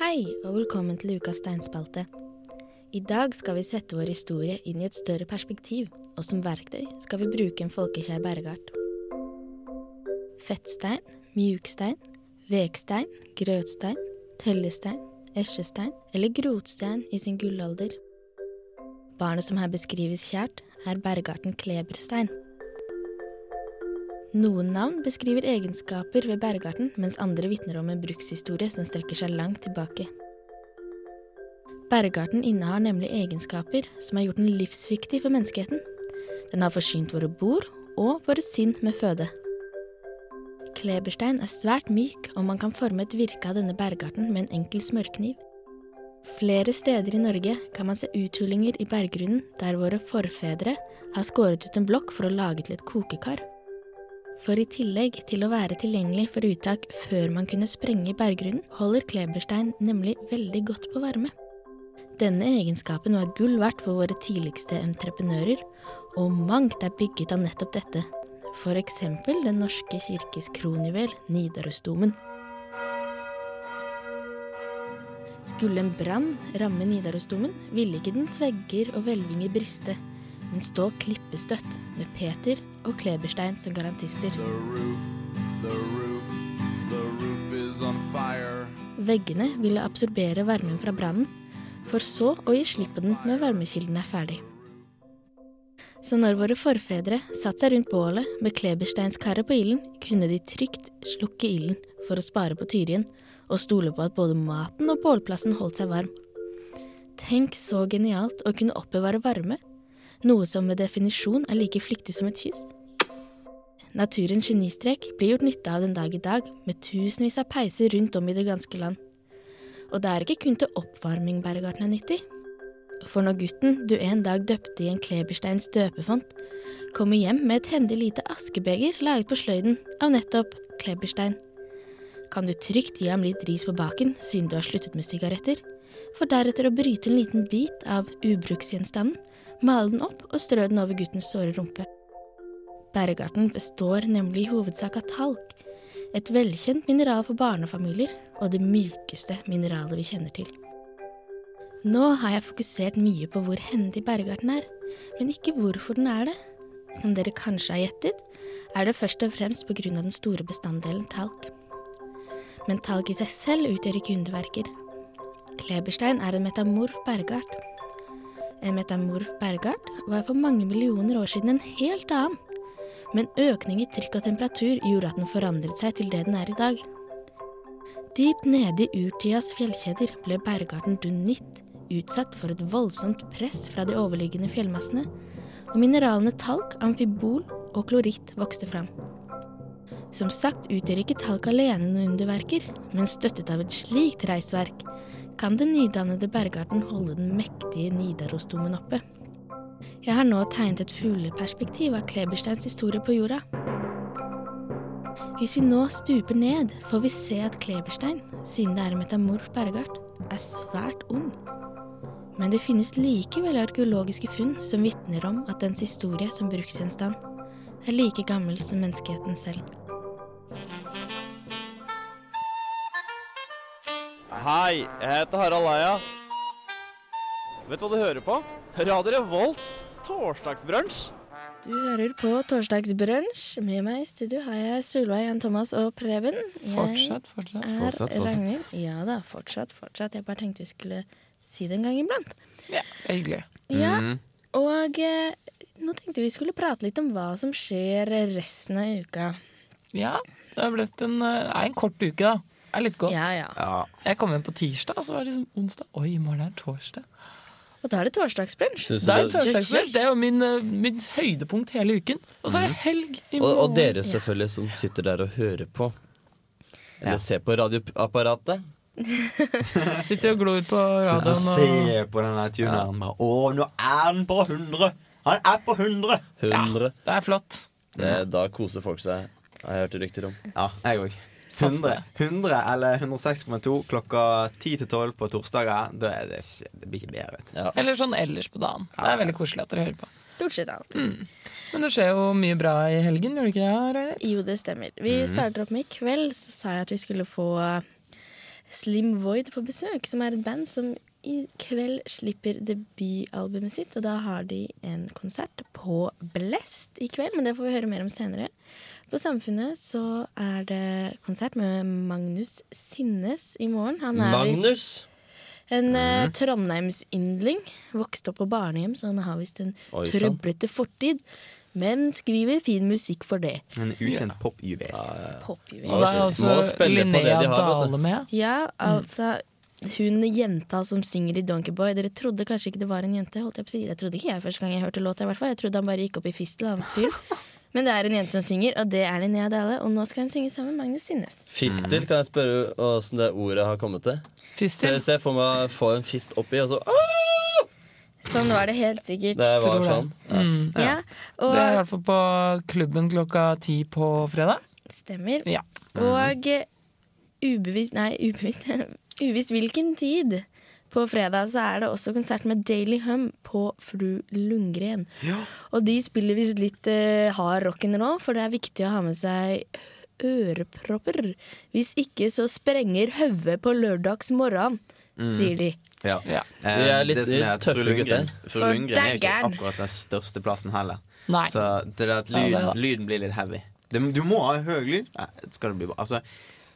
Speaker 1: Hei, og velkommen til ukas steinspalte. I dag skal vi sette vår historie inn i et større perspektiv, og som verktøy skal vi bruke en folkekjær bergart. Fettstein, mjukstein, vekstein, grøtstein, tellestein, esjestein eller grotstein i sin gullalder. Barnet som her beskrives kjært, er bergarten kleberstein. Noen navn beskriver egenskaper ved bergarten, mens andre vitner om en brukshistorie som strekker seg langt tilbake. Bergarten innehar nemlig egenskaper som har gjort den livsviktig for menneskeheten. Den har forsynt våre bord og våre sinn med føde. Kleberstein er svært myk, og man kan forme et virke av denne bergarten med en enkel smørkniv. Flere steder i Norge kan man se uthulinger i berggrunnen der våre forfedre har skåret ut en blokk for å lage til et kokekar. For i tillegg til å være tilgjengelig for uttak før man kunne sprenge i berggrunnen, holder kleberstein nemlig veldig godt på varme. Denne egenskapen var gull verdt for våre tidligste entreprenører, og mangt er bygget av nettopp dette. For eksempel Den norske kirkes kronjuvel, Nidarosdomen. Skulle en brann ramme Nidarosdomen, ville ikke dens vegger og hvelvinger briste, men stå klippestøtt, med Peter og Kleberstein som garantister.
Speaker 7: The roof, the roof, the roof is on fire.
Speaker 1: Veggene ville absorbere varmen fra brannen, for så å gi slipp på den når varmekilden er ferdig. Så når våre forfedre satte seg rundt bålet med klebersteinskarret på ilden, kunne de trygt slukke ilden for å spare på tyrien, og stole på at både maten og bålplassen holdt seg varm. Tenk så genialt å kunne oppbevare varme, noe som ved definisjon er like flyktig som et kyss. Naturens genistrek blir gjort nytte av den dag i dag, med tusenvis av peiser rundt om i det ganske land. Og det er ikke kun til oppvarming Bergarten er nyttig. For når gutten du en dag døpte i en klebersteins døpefont, kommer hjem med et hendig lite askebeger laget på sløyden av nettopp kleberstein, kan du trygt gi ham litt ris på baken siden du har sluttet med sigaretter, for deretter å bryte en liten bit av ubruksgjenstanden, male den opp og strø den over guttens såre rumpe. Bergarten består nemlig i hovedsak av talg, et velkjent mineral for barnefamilier og det mykeste mineralet vi kjenner til. Nå har jeg fokusert mye på hvor hendig bergarten er, men ikke hvorfor den er det. Som dere kanskje har gjettet, er det først og fremst pga. den store bestanddelen talg. Men talg i seg selv utgjør ikke underverker. Kleberstein er en metamorf bergart. En metamorf Eh, bergart var for mange millioner år siden en helt annen men økning i trykk og temperatur gjorde at den forandret seg til det den er i dag. Dypt nede i urtidas fjellkjeder ble bergarten dunitt utsatt for et voldsomt press fra de overliggende fjellmassene, og mineralene talk, amfibol og kloritt vokste fram. Som sagt utgjør ikke talk alene noen underverker, men støttet av et slikt reisverk kan den nydannede bergarten holde den mektige Nidarosdomen oppe. Jeg har nå tegnet et fugleperspektiv av Klebersteins historie på jorda. Hvis vi nå stuper ned, får vi se at Kleberstein, siden det er en metamorf bergart, er svært ung. Men det finnes likevel arkeologiske funn som vitner om at dens historie som bruksgjenstand er like gammel som menneskeheten selv.
Speaker 8: Hei, jeg heter Harald Eia. Vet du hva du hører på? Radio Revolt. Torsdagsbrunsj.
Speaker 1: Du hører på Torsdagsbrunsj. Med meg i studio har jeg Solveig, Jan Thomas og Preben. Jeg
Speaker 5: Fortsett, fortsett.
Speaker 1: er
Speaker 4: Fortsett, fortsett.
Speaker 1: Ragnhild. Ja da, fortsatt, fortsatt. Jeg bare tenkte vi skulle si det en gang iblant.
Speaker 5: Ja, det er hyggelig.
Speaker 1: Ja,
Speaker 4: Mm.
Speaker 1: og eh, nå tenkte vi skulle prate litt om hva som skjer resten av uka.
Speaker 5: Ja, det har blitt en, eh, er en kort uke, da. Det er litt godt.
Speaker 1: Ja, ja.
Speaker 4: Ja.
Speaker 5: Jeg kom hjem på tirsdag, og så var det liksom onsdag. Oi, i morgen er det torsdag.
Speaker 1: Og da er det torsdagsbrunsj.
Speaker 2: Synes du
Speaker 5: Det er jo
Speaker 2: det,
Speaker 5: torsdagslunsj. Det er jo min, eh, mitt høydepunkt hele uken. Og så er det helg i
Speaker 2: og,
Speaker 5: morgen.
Speaker 2: og dere selvfølgelig som sitter der og hører på. Eller ser på radioapparatet.
Speaker 5: Sitter og glor
Speaker 4: Sitte
Speaker 5: på
Speaker 4: og
Speaker 5: radioen.
Speaker 4: se på den der tuneren bare Å, nå er han på 100! Han er på 100!
Speaker 2: 100.
Speaker 5: Og det er flott.
Speaker 2: Det, da koser folk seg, har jeg hørt rykter om.
Speaker 4: Ja, jeg òg.
Speaker 5: Sats på
Speaker 4: 100,
Speaker 5: det.
Speaker 4: 100 eller 106,2 klokka 10 til 12 på torsdager. Det, er- det, er- det blir ikke bedre. Vet du.
Speaker 5: Eller sånn ellers på dagen. Det er veldig koselig at dere hører på.
Speaker 1: Stort sett alt.
Speaker 5: Men det skjer jo mye bra i helgen, gjør det ikke det, Reidar?
Speaker 1: Jo, det stemmer. Vi
Speaker 2: Mhm.
Speaker 1: starter opp med i kveld, så sa jeg at vi skulle få eh, Slim Void på besøk, som er et band som i kveld slipper debutalbumet sitt. Og da har de en konsert på Blest i kveld, men det får vi høre mer om senere. På Samfunnet så er det konsert med Magnus Sinnes i morgen. Han er visst-
Speaker 2: Magnus! Mhm.
Speaker 1: En eh, Trondheimsyndling. Vokste opp på barnehjem, så han har visst en
Speaker 2: Oi, sånn. sant.
Speaker 1: trøblete fortid. Men skriver fin musikk for det.
Speaker 4: En ukjent popjuvel.
Speaker 1: Popjuvel.
Speaker 5: Og det er
Speaker 2: altså, må
Speaker 5: også
Speaker 2: spille på det de
Speaker 5: Linnea
Speaker 2: har, vet du.
Speaker 5: Dale med.
Speaker 1: Ja, altså Hun jenta som synger i Donkeyboy. Dere trodde kanskje ikke det var en jente? holdt jeg på å si Jeg trodde ikke jeg første gang jeg hørte låta. i hvert fall Jeg trodde han bare gikk opp i fistel. Han fyren. Men det er en jente som synger, og det er Linnea Dale. Og nå skal hun synge sammen med Magnus Sinnes.
Speaker 2: Fistel, kan jeg spørre åssen det ordet har kommet til? Så
Speaker 5: Fistil.
Speaker 2: jeg ser for meg å få en fist oppi, og så ah!
Speaker 1: Sånn var det helt sikkert.
Speaker 2: Det
Speaker 5: Tror
Speaker 2: var
Speaker 5: det.
Speaker 2: sånn.
Speaker 5: Mm.
Speaker 1: Ja,
Speaker 5: Det er i
Speaker 1: og
Speaker 5: hvert fall på klubben klokka ti på fredag.
Speaker 1: stemmer.
Speaker 5: Ja.
Speaker 1: Og eh, ubevisst Nei, ubevisst Uvisst hvilken tid. På fredag så er det også konsert med Daily Hum på Fru Lundgren. Og de spiller visst litt eh, hard rock'n'roll, for det er viktig å ha med seg ørepropper. Hvis ikke så sprenger hodet på lørdags morgen,
Speaker 4: Mm.
Speaker 1: sier de.
Speaker 4: Ja.
Speaker 5: Ja.
Speaker 4: Eh,
Speaker 2: De er litt- de er tøffe
Speaker 4: Fru Lundgrens-
Speaker 2: gutter.
Speaker 4: Fru Lundgren er ikke
Speaker 1: Fordaggeren.
Speaker 4: akkurat den største plassen heller.
Speaker 5: Nei.
Speaker 4: Så det er at
Speaker 5: Ja, det
Speaker 4: lyden,
Speaker 5: er det.
Speaker 4: lyden blir litt heavy. Det, du må ha høy lyd. Nei, Skal det bli bra. Altså,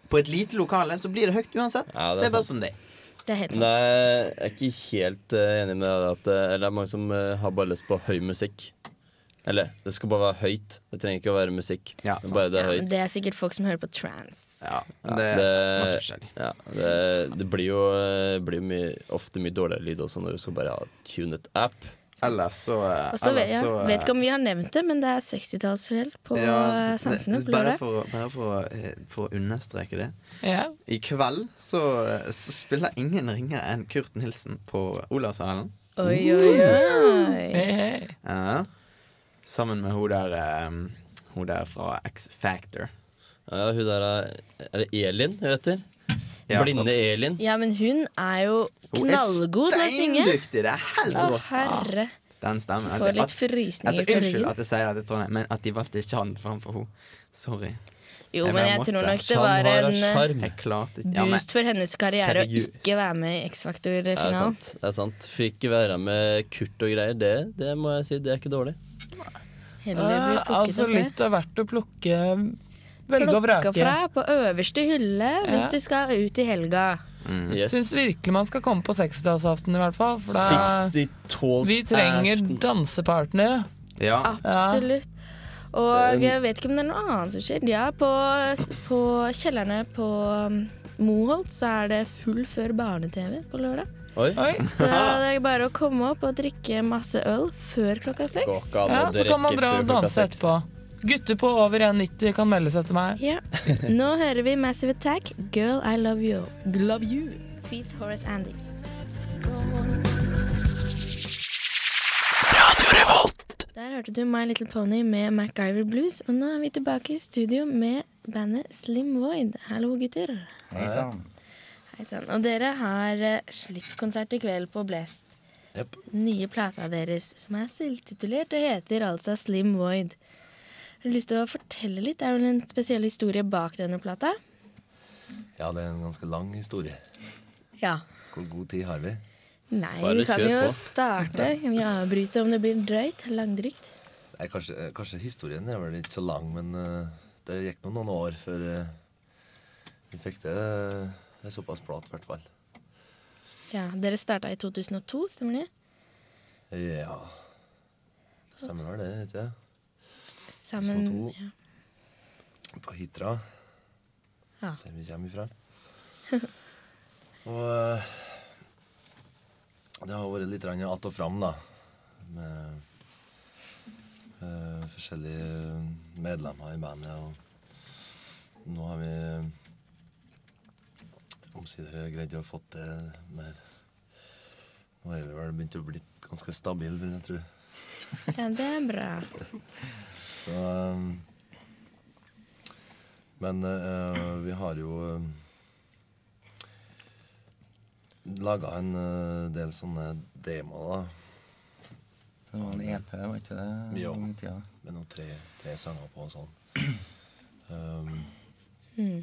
Speaker 4: på et lite lokale så blir det høyt uansett.
Speaker 2: Ja,
Speaker 4: det,
Speaker 2: det er
Speaker 4: er bare sånn det er.
Speaker 1: Det er helt
Speaker 2: Nei,
Speaker 1: sant.
Speaker 2: jeg er ikke helt eh, enig med deg. At, eh, eller det er mange som eh, har bare lyst på høy musikk. Eller det skal bare være høyt. Det trenger ikke å være musikk.
Speaker 4: Ja,
Speaker 2: Det er bare det
Speaker 1: Ja,
Speaker 2: er
Speaker 1: men
Speaker 2: høyt.
Speaker 1: det er sikkert folk som hører på trans.
Speaker 4: Ja, det er masse forskjellig.
Speaker 2: ja, det, det blir jo, eh, blir jo mye, ofte mye dårligere lyd også når du skal bare ha tunet app.
Speaker 4: Ellers så, eh,
Speaker 1: Og så vet,
Speaker 4: ellers
Speaker 1: ja,
Speaker 4: så, eh,
Speaker 1: vet ikke om vi har nevnt det, men det er 60-tallsfjell på eh,
Speaker 4: ja,
Speaker 1: Samfunnet
Speaker 4: det-
Speaker 1: på
Speaker 4: Bare,
Speaker 1: lørdag.
Speaker 4: for, å- bare for, å, eh, for å understreke det.
Speaker 5: Ja.
Speaker 4: I kveld så, eh, så spiller ingen ringere enn Kurt Nilsen på Olavshallen.
Speaker 1: Oi, oi, oi.
Speaker 5: Hei, hei.
Speaker 4: Ja. sammen med hun der, eh, hun der fra X Factor.
Speaker 2: Ja, hun der er, er det Elin hun heter?
Speaker 4: Ja.
Speaker 2: Blinde Elin.
Speaker 1: Ja, men hun er jo
Speaker 4: Hun er
Speaker 1: knallgod til å synge.
Speaker 4: steindyktig! Det er helt
Speaker 1: Å,
Speaker 4: rått.
Speaker 1: herre.
Speaker 4: Den stemmen.
Speaker 1: Jeg får
Speaker 4: At-
Speaker 1: litt
Speaker 4: altså,
Speaker 1: frysninger på
Speaker 4: unnskyld at
Speaker 1: ryggen.
Speaker 4: jeg sier det til Trondheim, men at de valgte ikke han framfor henne. Sorry.
Speaker 1: Jo,
Speaker 4: jeg
Speaker 1: men
Speaker 4: bare
Speaker 1: jeg
Speaker 4: måtte.
Speaker 1: tror nok det
Speaker 2: Han
Speaker 1: var
Speaker 2: har
Speaker 5: eh,
Speaker 1: en eh,
Speaker 2: en sjarm.
Speaker 4: Jeg klarte ikke ja, men,
Speaker 1: boost for hennes karriere å
Speaker 4: seriøst.
Speaker 1: ikke være med i
Speaker 2: Det er
Speaker 1: X-Faktor-finalen.
Speaker 2: sant. det er sant Fikk være med Kurt og greier. Det, det må jeg si, det er ikke dårlig.
Speaker 1: Heller bli
Speaker 5: Eh,
Speaker 1: plukket
Speaker 5: altså
Speaker 1: opp det.
Speaker 5: litt av hvert å plukke Velge og
Speaker 1: Plukka
Speaker 5: vrake.
Speaker 1: fra på øverste hylle hvis
Speaker 5: Ja.
Speaker 1: du skal ut i helga.
Speaker 2: Yes.
Speaker 5: Syns virkelig man skal komme på 60-tallsaften, i hvert fall. For da,
Speaker 2: 60 tolls
Speaker 5: vi trenger dansepartner.
Speaker 4: ja.
Speaker 1: Absolutt. Og jeg vet ikke om det er noe annet som skjer. Ja, på, på kjellerne på um, Moholt så er det full før barne-TV på lørdag.
Speaker 2: Oi.
Speaker 5: Oi.
Speaker 1: Så det er bare å komme opp og drikke masse øl før klokka
Speaker 2: Går
Speaker 1: seks.
Speaker 2: ikke an å
Speaker 5: Ja, så kan man
Speaker 2: drikke
Speaker 5: dra
Speaker 2: før
Speaker 5: og
Speaker 2: klokka
Speaker 5: danse
Speaker 2: seks.
Speaker 5: etterpå. Gutter på over 1,90 kan melde seg til meg.
Speaker 1: Ja. Nå hører vi Massive Attack, 'Girl I Love You'. Love you. Feet Horace Andy. Der hørte du My Little Pony med MacGyver Blues. Og nå er vi tilbake i studio med bandet Slim Void. Hallo, gutter.
Speaker 9: Hei sann.
Speaker 1: Hei sann. Og dere har eh, slippkonsert i kveld på Blest.
Speaker 2: Jepp.
Speaker 1: Nye plata deres, som er selvtitulert og heter altså Slim Void. Har du lyst til å fortelle litt? Det er vel en spesiell historie bak denne plata?
Speaker 9: Ja, det er en ganske lang historie.
Speaker 1: Ja.
Speaker 9: Hvor god tid har vi?
Speaker 1: Nei,
Speaker 2: Bare
Speaker 1: vi kan
Speaker 2: kjør
Speaker 1: jo
Speaker 2: på.
Speaker 1: starte. Kan vi avbryte om det blir drøyt? Langdrygt?
Speaker 9: Nei, kanskje, eh, kanskje historien er vel ikke så lang, men eh, det gikk nå noen år eh, før eh, vi fikk det, det såpass plat, i hvert fall.
Speaker 1: Ja, Dere starta i 2002, stemmer det?
Speaker 9: Ja Stemmer vel det, heter jeg.
Speaker 1: Sammen
Speaker 9: 2002.
Speaker 1: ja.
Speaker 9: På Hitra.
Speaker 1: Ja.
Speaker 9: Der vi kommer ifra. og eh, det har vært litt grann att og fram, da. Med eh, forskjellige medlemmer i bandet. Og nå har vi omsider greid å få til mer Nå er vi vel begynt å bli ganske stabile, vil jeg tro.
Speaker 1: ja, det er bra.
Speaker 9: Så um, Men eh, vi har jo uh, laga en eh, del sånne demoer, da.
Speaker 10: Det var en EP, var ikke det?
Speaker 9: Mm, Ja.
Speaker 10: en gang i tida?
Speaker 9: Med noen tre, tre sanger på og sånn. Um,
Speaker 1: Mm.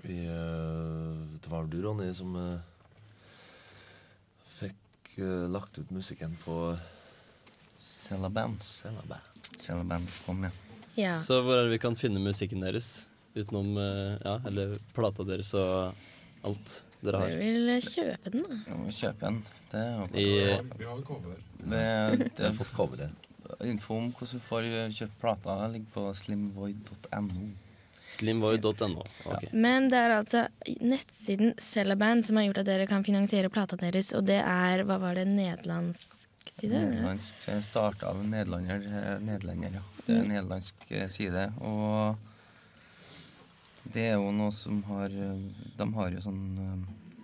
Speaker 9: vi, eh, det var vel du, Ronny, som eh, fikk eh, lagt ut musikken på
Speaker 10: Cellaband.
Speaker 9: Celaband.
Speaker 10: Cellaband kom, ja.
Speaker 1: Ja.
Speaker 2: Så hvor er det vi kan finne musikken deres? Utenom eh, Ja, eller plata deres og alt dere
Speaker 1: Dere
Speaker 2: har.
Speaker 1: vil eh, kjøpe den, da.
Speaker 10: Jo, Kjøp en. Det er jo
Speaker 2: I
Speaker 9: Vi har cover.
Speaker 10: det,
Speaker 9: Vi
Speaker 10: det,
Speaker 9: har fått coveret.
Speaker 10: Info om hvordan du får eh, kjøpt plata, ligger på slimvoid.no.
Speaker 2: slimvoid.no. Ok.
Speaker 1: Men det er altså nettsiden Cellaband som har gjort at dere kan finansiere plata deres, og det er Hva var det? Nederlandsk side?
Speaker 10: Nederlandsk. så Jeg starta av en nederlander, eh, nederlender, ja. Det er en nederlandsk eh, side. Og det er jo noe som har eh, De har jo sånn eh,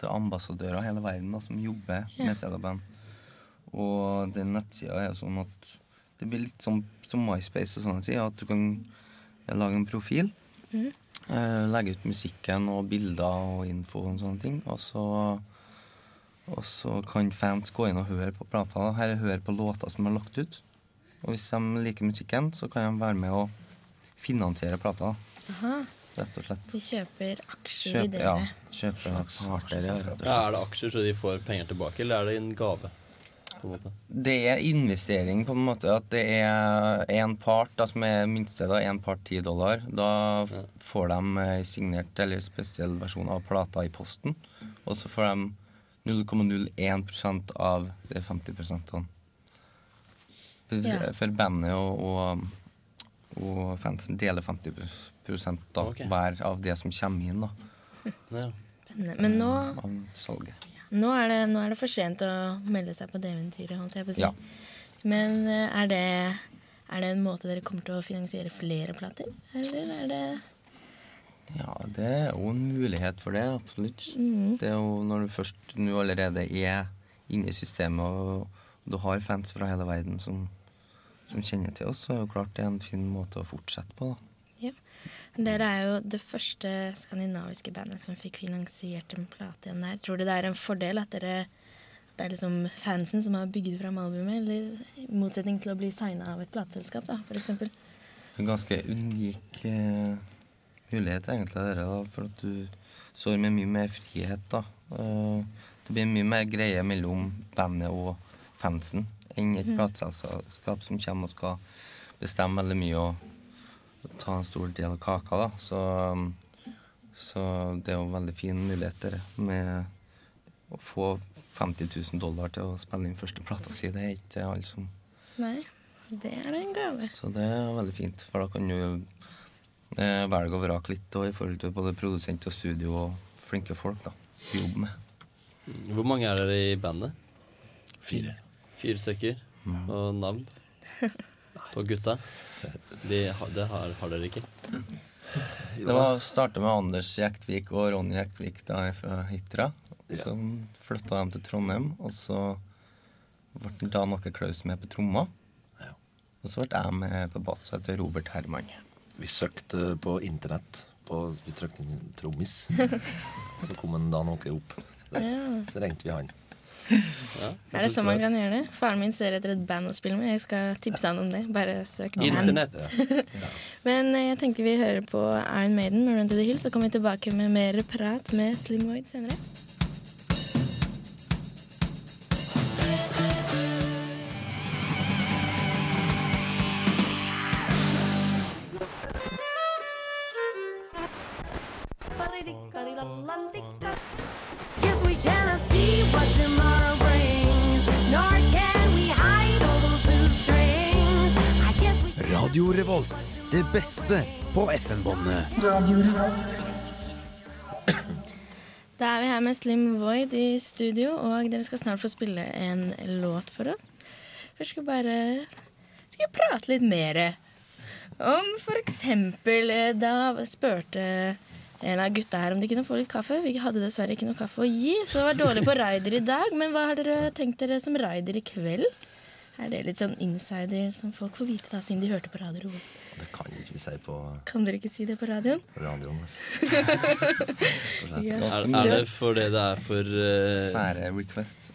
Speaker 10: Det er ambassadører av hele verden da, som jobber med CD-band. Og den nettsida er jo sånn at det blir litt sånn som MySpace og sånne sider, at du kan eh, lage en profil. eh, legge ut musikken og bilder og info og sånne ting. Og så og så kan fans gå inn og høre på plata, da. eller høre på låter som er lagt ut. Og hvis de liker musikken, så kan de være med og finansiere plata, da.
Speaker 1: Aha.
Speaker 10: rett og slett.
Speaker 1: De kjøper aksjer i
Speaker 10: Kjøpe,
Speaker 1: dere.
Speaker 10: ja, kjøpe parter,
Speaker 2: Ja,
Speaker 10: ja, rett og
Speaker 2: er
Speaker 10: slett.
Speaker 2: det aksjer så de får penger tilbake, eller er det en gave? På en måte.
Speaker 10: Det er investering på en måte at det er én part da, som er minste, da, én part 10 dollar. Da f-
Speaker 2: Ja.
Speaker 10: får de eh, signert eller spesiell versjon av plata i posten, og så får de 0,01 av de 50 prosentene. For,
Speaker 1: Ja.
Speaker 10: for bandet og, og, og fansen deler 50 pros- prosent da,
Speaker 2: Ok.
Speaker 10: hver av det som kommer inn da,
Speaker 2: Ja.
Speaker 1: Spennende. Men nå,
Speaker 10: av salget.
Speaker 1: nå, er det, nå er det for sent å melde seg på det eventyret, holdt jeg på å si.
Speaker 10: Ja.
Speaker 1: Men eh, er det, er det en måte dere kommer til å finansiere flere plater? Eller er det
Speaker 10: Ja, det er jo en mulighet for det, absolutt. Det er jo når du først nå allerede er inne i systemet, og du har fans fra hele verden som, som kjenner til oss, så er jo klart det er en fin måte å fortsette på, da.
Speaker 1: Ja. Dere er jo det første skandinaviske bandet som fikk finansiert en plate igjen der. Tror du det er en fordel at dere det er liksom fansen som har bygd fram albumet, eller i motsetning til å bli signa av et plateselskap, da, for eksempel.
Speaker 10: En ganske unik eh, mulighet egentlig av dere, da, for at du står med mye mer frihet, da. Eh, det blir mye mer greie mellom bandet og fansen enn et plateselskap som kommer og skal bestemme veldig mye og ta en stor del av kaka, da. Så, så det er jo en veldig fin mulighet dere med å få 50 000 dollar til å spille inn første plata si. Det er ikke alle som
Speaker 1: Nei, det er en gave.
Speaker 10: så det er veldig fint, for da kan du eh, velge og vrake litt og i forhold til både produsent og studio og flinke folk da, å jobbe med.
Speaker 2: Hvor mange er dere i bandet? Fire. Fire stykker. Og navn på gutta? De, har- det har, har dere ikke.
Speaker 10: Det var å starte med Anders Jektvik og Ronny Jektvik da jeg er fra Hitra. Så flytta de til Trondheim, og så ble det da noe Klaus med på tromma. Og så ble jeg med på bass, og heter Robert Herman.
Speaker 9: Vi søkte på internett. På, vi trykte inn 'trommis'. så kom en Dan Åke opp. Der. Så ringte vi han.
Speaker 2: Ja,
Speaker 1: Er det sånn man kan gjøre det? Faren min ser etter et band å spille med. Jeg skal tipse han om det. Bare søk band.
Speaker 2: Internett.
Speaker 1: Men eh, jeg tenkte vi hører på Iron Maiden med Run to the Hill, så kommer vi tilbake med mer prat med Slim Void senere.
Speaker 11: Yes, we can Radio Revolt. Det beste på FN-båndet.
Speaker 1: Da er vi her med Slim Void i studio, og dere skal snart få spille en låt for oss. Først skal vi bare skal jeg prate litt mer om for eksempel eh, da spurte en av gutta her om de kunne få litt kaffe. Vi hadde dessverre ikke noe kaffe å gi, så det var dårlig på rider i dag. Men hva har dere tenkt dere som rider i kveld? Er det litt sånn insider som folk får vite da, siden de hørte på radio?
Speaker 9: Det kan ikke vi si på
Speaker 1: Kan dere ikke si det på radioen?
Speaker 9: radioen. Altså.
Speaker 1: Ja.
Speaker 2: Er, er det fordi det er for eh,
Speaker 10: Sære requests.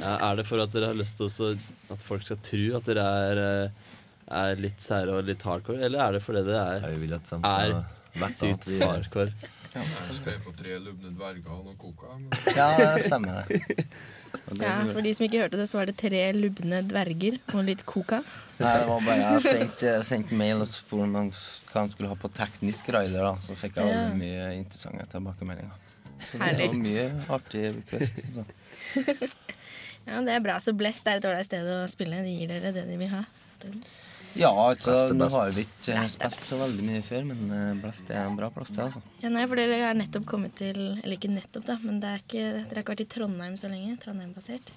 Speaker 2: er er det for at dere har lyst til også at folk skal tro at dere er, eh, er litt sære og litt hardcore, eller er det fordi det er,
Speaker 9: skal
Speaker 2: er
Speaker 9: vite at
Speaker 2: sykt
Speaker 9: vi-
Speaker 2: hardcore?
Speaker 12: Jeg skrev på tre lubne dverger og noen koka. men-
Speaker 10: Ja, det stemmer det.
Speaker 1: Ja, For de som ikke hørte det, så var det tre lubne dverger og litt coca.
Speaker 10: Nei, det var bare Jeg sendte sendt mail og spurte om han- hva han skulle ha på teknisk rider, da. Så fikk jeg
Speaker 1: Ja.
Speaker 10: veldig mye interessante tilbakemeldinger. Så det
Speaker 1: Herlig.
Speaker 10: var mye altså. artig request. Så.
Speaker 1: Ja, det er bra. Så Blest er et ålreit sted å spille. De gir dere det de vil ha.
Speaker 10: Ja, altså,
Speaker 1: Blast er
Speaker 10: nå
Speaker 1: best.
Speaker 10: har vi ikke eh, spilt så veldig mye før, men eh, Blast er en bra plass til, altså.
Speaker 1: Ja, nei, for dere har nettopp kommet til Eller ikke nettopp, da, men det er ikke, dere har ikke vært i Trondheim så lenge. Trondheim-basert.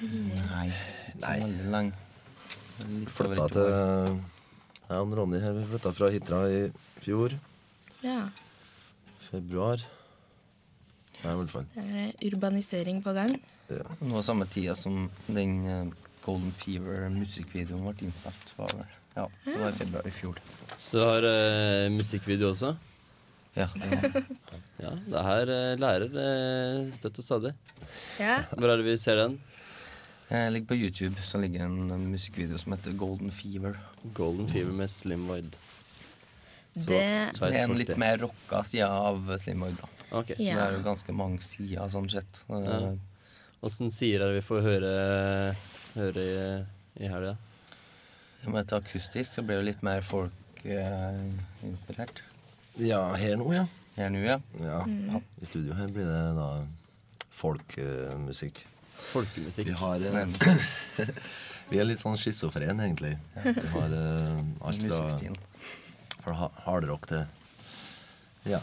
Speaker 10: Nei, ikke så veldig lenge.
Speaker 9: Flytta til Eh, Jeg og Ronny her, vi flytta fra Hitra i fjor.
Speaker 1: Ja.
Speaker 9: Februar. Nei, i hvert fall.
Speaker 1: Det er eh, urbanisering på gang.
Speaker 10: Nå var eh, samme tida som den eh, Golden Fever-musikkvideoen ble innspilt. Var vel. Ja, det var i februar i fjor.
Speaker 2: Så har eh, musikkvideo også.
Speaker 10: Ja, det,
Speaker 2: ja, det her eh, lærer eh, støtt og stadig.
Speaker 1: Ja.
Speaker 2: Hvor er det vi ser den?
Speaker 10: Jeg ligger på YouTube, så ligger en eh, musikkvideo som heter Golden Fever.
Speaker 2: Golden Fever med Slim Void.
Speaker 10: Så,
Speaker 2: Det-
Speaker 10: det
Speaker 2: så er
Speaker 10: er en
Speaker 2: folk
Speaker 10: litt
Speaker 2: det.
Speaker 10: mer rocka side av Slim Void, da.
Speaker 2: Ok.
Speaker 10: Det
Speaker 2: Ja.
Speaker 10: er jo ganske mange sider, sånn sett. Eh,
Speaker 2: Ja. Åssen sier dere vi får høre, høre i, i helga?
Speaker 10: Om det er akustisk, så blir det litt mer folk-inspirert.
Speaker 9: Ja, her nå, ja.
Speaker 10: Her nå, ja.
Speaker 9: Ja,
Speaker 10: Mm.
Speaker 9: I studio her blir det da folkemusikk.
Speaker 2: Folkemusikk.
Speaker 9: Vi har en Vi er litt sånn schizofren, egentlig.
Speaker 10: Ja.
Speaker 9: Vi har eh, alt fra,
Speaker 10: Musikkstilen.
Speaker 9: fra ha- hardrock til Ja.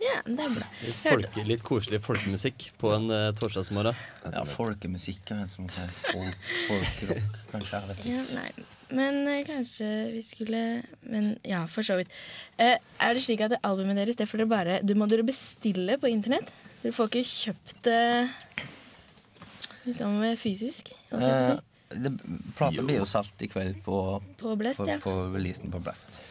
Speaker 1: Ja, det er bra.
Speaker 2: Litt,
Speaker 1: Hørte-
Speaker 2: folke, litt koselig folkemusikk på en uh, torsdagsmorgen.
Speaker 10: Ja, folkemusikk er som heter folk, folkrock, kanskje. Jeg vet
Speaker 1: Ja,
Speaker 10: ikke.
Speaker 1: nei. Men eh, kanskje vi skulle Men ja, for så vidt. Eh, er det slik at det albumet deres det får dere bare Du må dere bestille på internett? Dere får ikke kjøpt det liksom eh, fysisk? holdt jeg på å si.
Speaker 10: Eh, det- Plata blir jo solgt i kveld på,
Speaker 1: På Blast,
Speaker 10: på,
Speaker 1: ja.
Speaker 10: på releasen på Blast.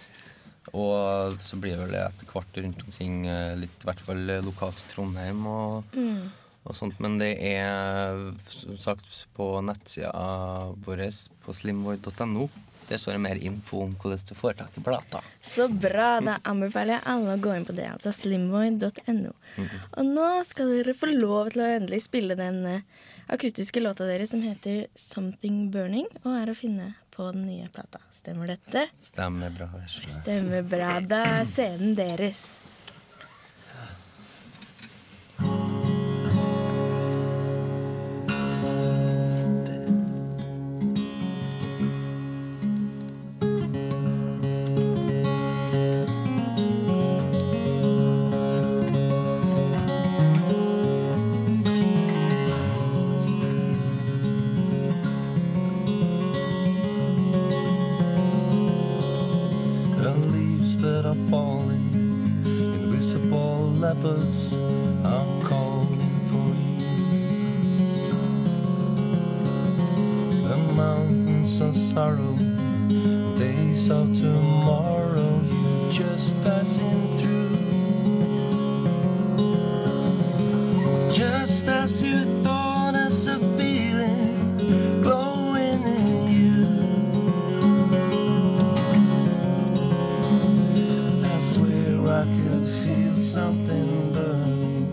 Speaker 10: Og så blir vel det etter hvert rundt omkring eh, litt, i hvert fall eh, lokalt i Trondheim og,
Speaker 1: Mm.
Speaker 10: og sånt. Men det er som sagt på nettsida vår på slimvoid.no. Der står det mer info om hvordan du får tak i plata.
Speaker 1: Så bra. Da anbefaler jeg alle å gå inn på det, altså slimboy.no.
Speaker 10: Mhm.
Speaker 1: Og nå skal dere få lov til å endelig spille den eh, akustiske låta deres som heter 'Something Burning', og er å finne på den nye plata. Stemmer dette?
Speaker 10: Stemmer bra. det skjønner jeg.
Speaker 1: Stemmer bra. Da er scenen deres.
Speaker 9: The leaves that are falling, invisible lepers are calling for you. The mountains of sorrow, days of tomorrow, you just passing through. Just as you thought, as a feeling glowing in I swear I could feel something burning.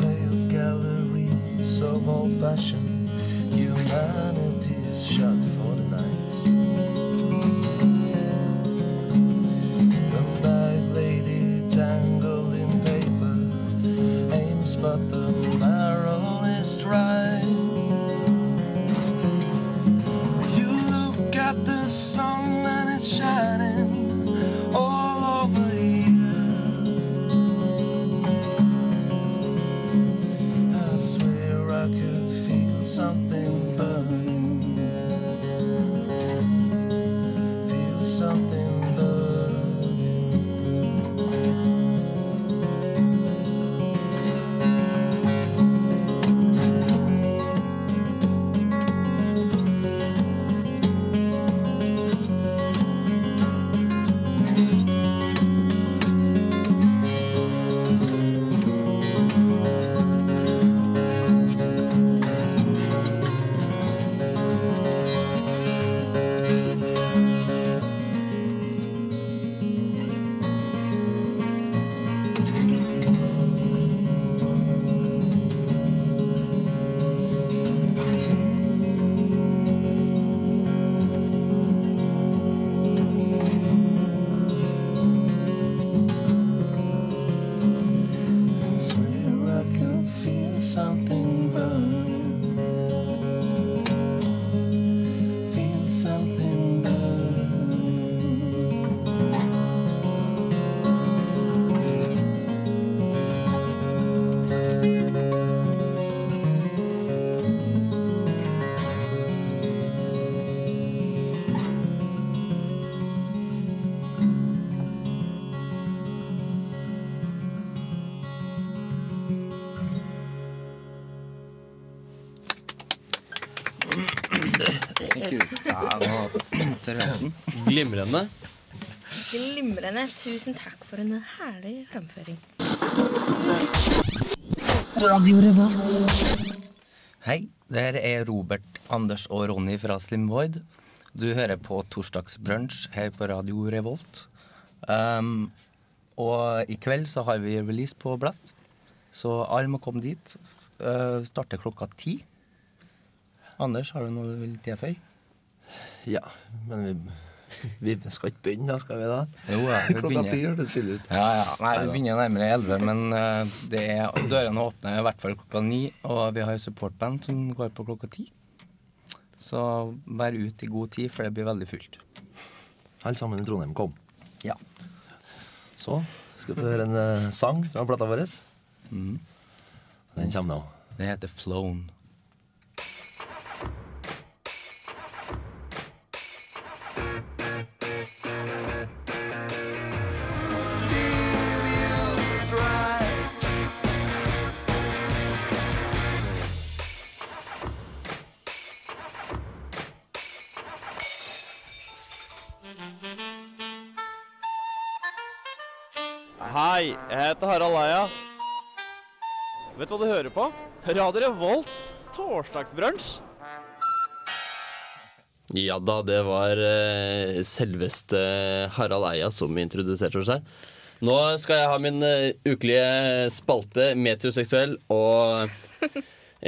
Speaker 9: Pale galleries of old fashioned human Humanity is shut for the night. The night lady tangled in paper aims, but the marrow is dry. You look at the sun and it's shining all over you. I swear I could feel something burning. Feel something burning. I swear I could feel something burn. Feel something burn.
Speaker 2: Glimrende.
Speaker 1: Glimrende. Tusen takk for en herlig framføring.
Speaker 10: Hei, der er Robert, Anders og Ronny fra Slim Void. Du hører på Torsdagsbrunsj her på Radio Revolt. Um, og i kveld så har vi release på Blast, så alle må komme dit. Uh, starter klokka ti. Anders, har du noe du vil tilføye?
Speaker 9: Ja, men vi, vi skal ikke begynne da, skal vi da?
Speaker 10: Jo, ja, vi
Speaker 9: Klokka
Speaker 10: begynner.
Speaker 9: ti høres stille ut.
Speaker 10: Ja, ja. Nei, vi
Speaker 9: Neida.
Speaker 10: begynner nærmere 11, men eh, det er, dørene åpner i hvert fall klokka 9, og vi har supportband som går på klokka 10. Så vær ute i god tid, for det blir veldig fullt.
Speaker 9: Alle sammen i Trondheim kom.
Speaker 10: Ja.
Speaker 9: Så skal vi få høre en eh, sang fra plata vår. Den kommer nå.
Speaker 10: Mm. Det heter Flown.
Speaker 8: Hei, jeg heter Harald Eia. Vet du hva du hører på? Radio Revolt torsdagsbrunsj.
Speaker 2: Ja da, det var eh, selveste Harald Eia som introduserte oss her. Nå skal jeg ha min eh, ukelige spalte metroseksuell, og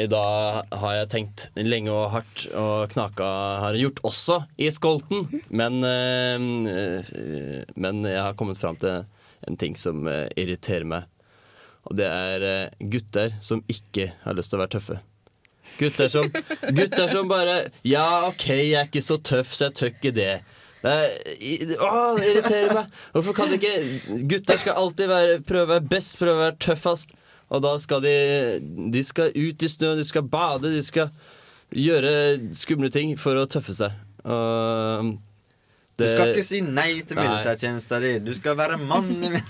Speaker 2: i dag Eh, har jeg tenkt lenge og hardt, og knaka har jeg gjort også i skolten. Men, eh, eh, men jeg har kommet fram til en ting som eh, irriterer meg. Og det er eh, gutter som ikke har lyst til å være tøffe. Gutter som, gutter som bare Ja, OK, jeg er ikke så tøff, så jeg tør ikke det. Det er, i- å, det irriterer meg. Hvorfor kan de ikke Gutter skal alltid være, prøve å være best, prøve å være tøffest. Og da skal de De skal ut i snøen, de skal bade, de skal gjøre skumle ting for å tøffe seg. Og
Speaker 4: Du skal ikke si nei til
Speaker 2: Nei.
Speaker 4: militærtjenesten din. Du skal være mann i mi-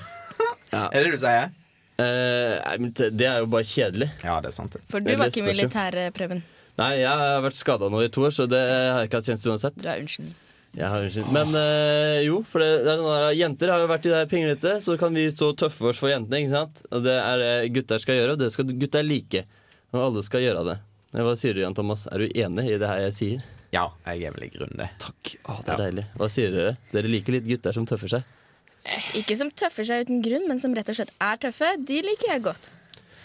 Speaker 4: Er det det du sier?
Speaker 2: eh, Nei, men det det er jo bare kjedelig.
Speaker 4: Ja, det er sant.
Speaker 1: For du var ikke militær, eh, Preben.
Speaker 2: Nei, jeg har vært skada nå i to år, så det har jeg ikke hatt tjeneste uansett.
Speaker 1: Du er unnskyldning.
Speaker 2: Jeg har unnskyld. Men eh, jo, for det, det er den der, jenter har jo vært i det her pinglete, så kan vi stå tøffe oss for jentene. ikke sant? Og Det er det gutter skal gjøre, og det skal gutter like. Og alle skal gjøre det. Men Hva sier du, Jan Thomas? Er du enig i det her jeg sier?
Speaker 4: Ja, jeg er vel i grunnen det.
Speaker 2: Takk. Å, det er deilig. Hva sier dere? Dere liker litt gutter som tøffer seg?
Speaker 1: Ikke som tøffer seg uten grunn, men som rett og slett er tøffe. De liker jeg godt.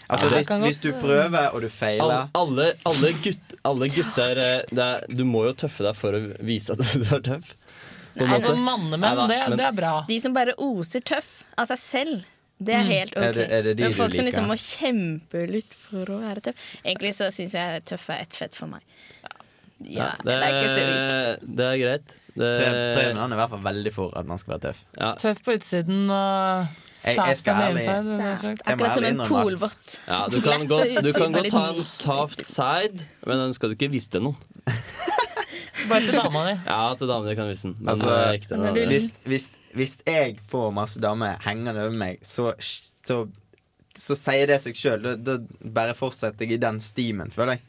Speaker 4: Altså,
Speaker 2: Ja, det
Speaker 4: hvis,
Speaker 2: kan
Speaker 4: hvis
Speaker 2: godt
Speaker 4: du
Speaker 2: være.
Speaker 4: prøver, og du feiler
Speaker 2: Alle, alle, alle, gutt, alle gutter eh, det er, Du må jo tøffe deg for å vise at du er tøff. på en
Speaker 1: Nei,
Speaker 2: måte.
Speaker 1: altså,
Speaker 5: mannemenn,
Speaker 2: Neida, men-
Speaker 5: bra.
Speaker 1: De som bare oser tøff av seg selv, det er
Speaker 5: Mm.
Speaker 1: helt ok.
Speaker 4: Er det- er det de
Speaker 1: Men
Speaker 4: du
Speaker 1: folk som
Speaker 4: liker?
Speaker 1: liksom må kjempe litt for å være tøff Egentlig så syns jeg tøff er ett fett for meg. Ja,
Speaker 2: det,
Speaker 1: det er ikke så viktig.
Speaker 2: det er greit. Det,
Speaker 4: Pre- Preben han er i hvert fall veldig for at man skal være tøff.
Speaker 2: Ja.
Speaker 5: Tøff på utsiden og
Speaker 4: Jeg- jeg
Speaker 5: saft
Speaker 4: skal
Speaker 5: on the
Speaker 4: ærlig-
Speaker 5: inside. det er
Speaker 1: Saft.
Speaker 5: sagt.
Speaker 4: Jeg må
Speaker 1: Akkurat som
Speaker 4: ærlig
Speaker 1: en
Speaker 4: innrømme at-
Speaker 1: polvott.
Speaker 2: Ja, du kan
Speaker 1: Lett
Speaker 2: godt,
Speaker 1: å
Speaker 2: du
Speaker 1: utsiden,
Speaker 2: kan
Speaker 1: bare
Speaker 2: godt ta
Speaker 1: litt
Speaker 2: en soft side, men den skal du ikke vise til noen.
Speaker 5: Bare til dama di.
Speaker 2: Ja, til damene kan vise den. Men
Speaker 4: Altså,
Speaker 2: eh, ikke til noen andre.
Speaker 5: liksom-
Speaker 4: hvis, hvis, hvis jeg får masse damer hengende over meg, så, så, så sier det seg sjøl. Da, da bare fortsetter jeg i den stimen, føler jeg.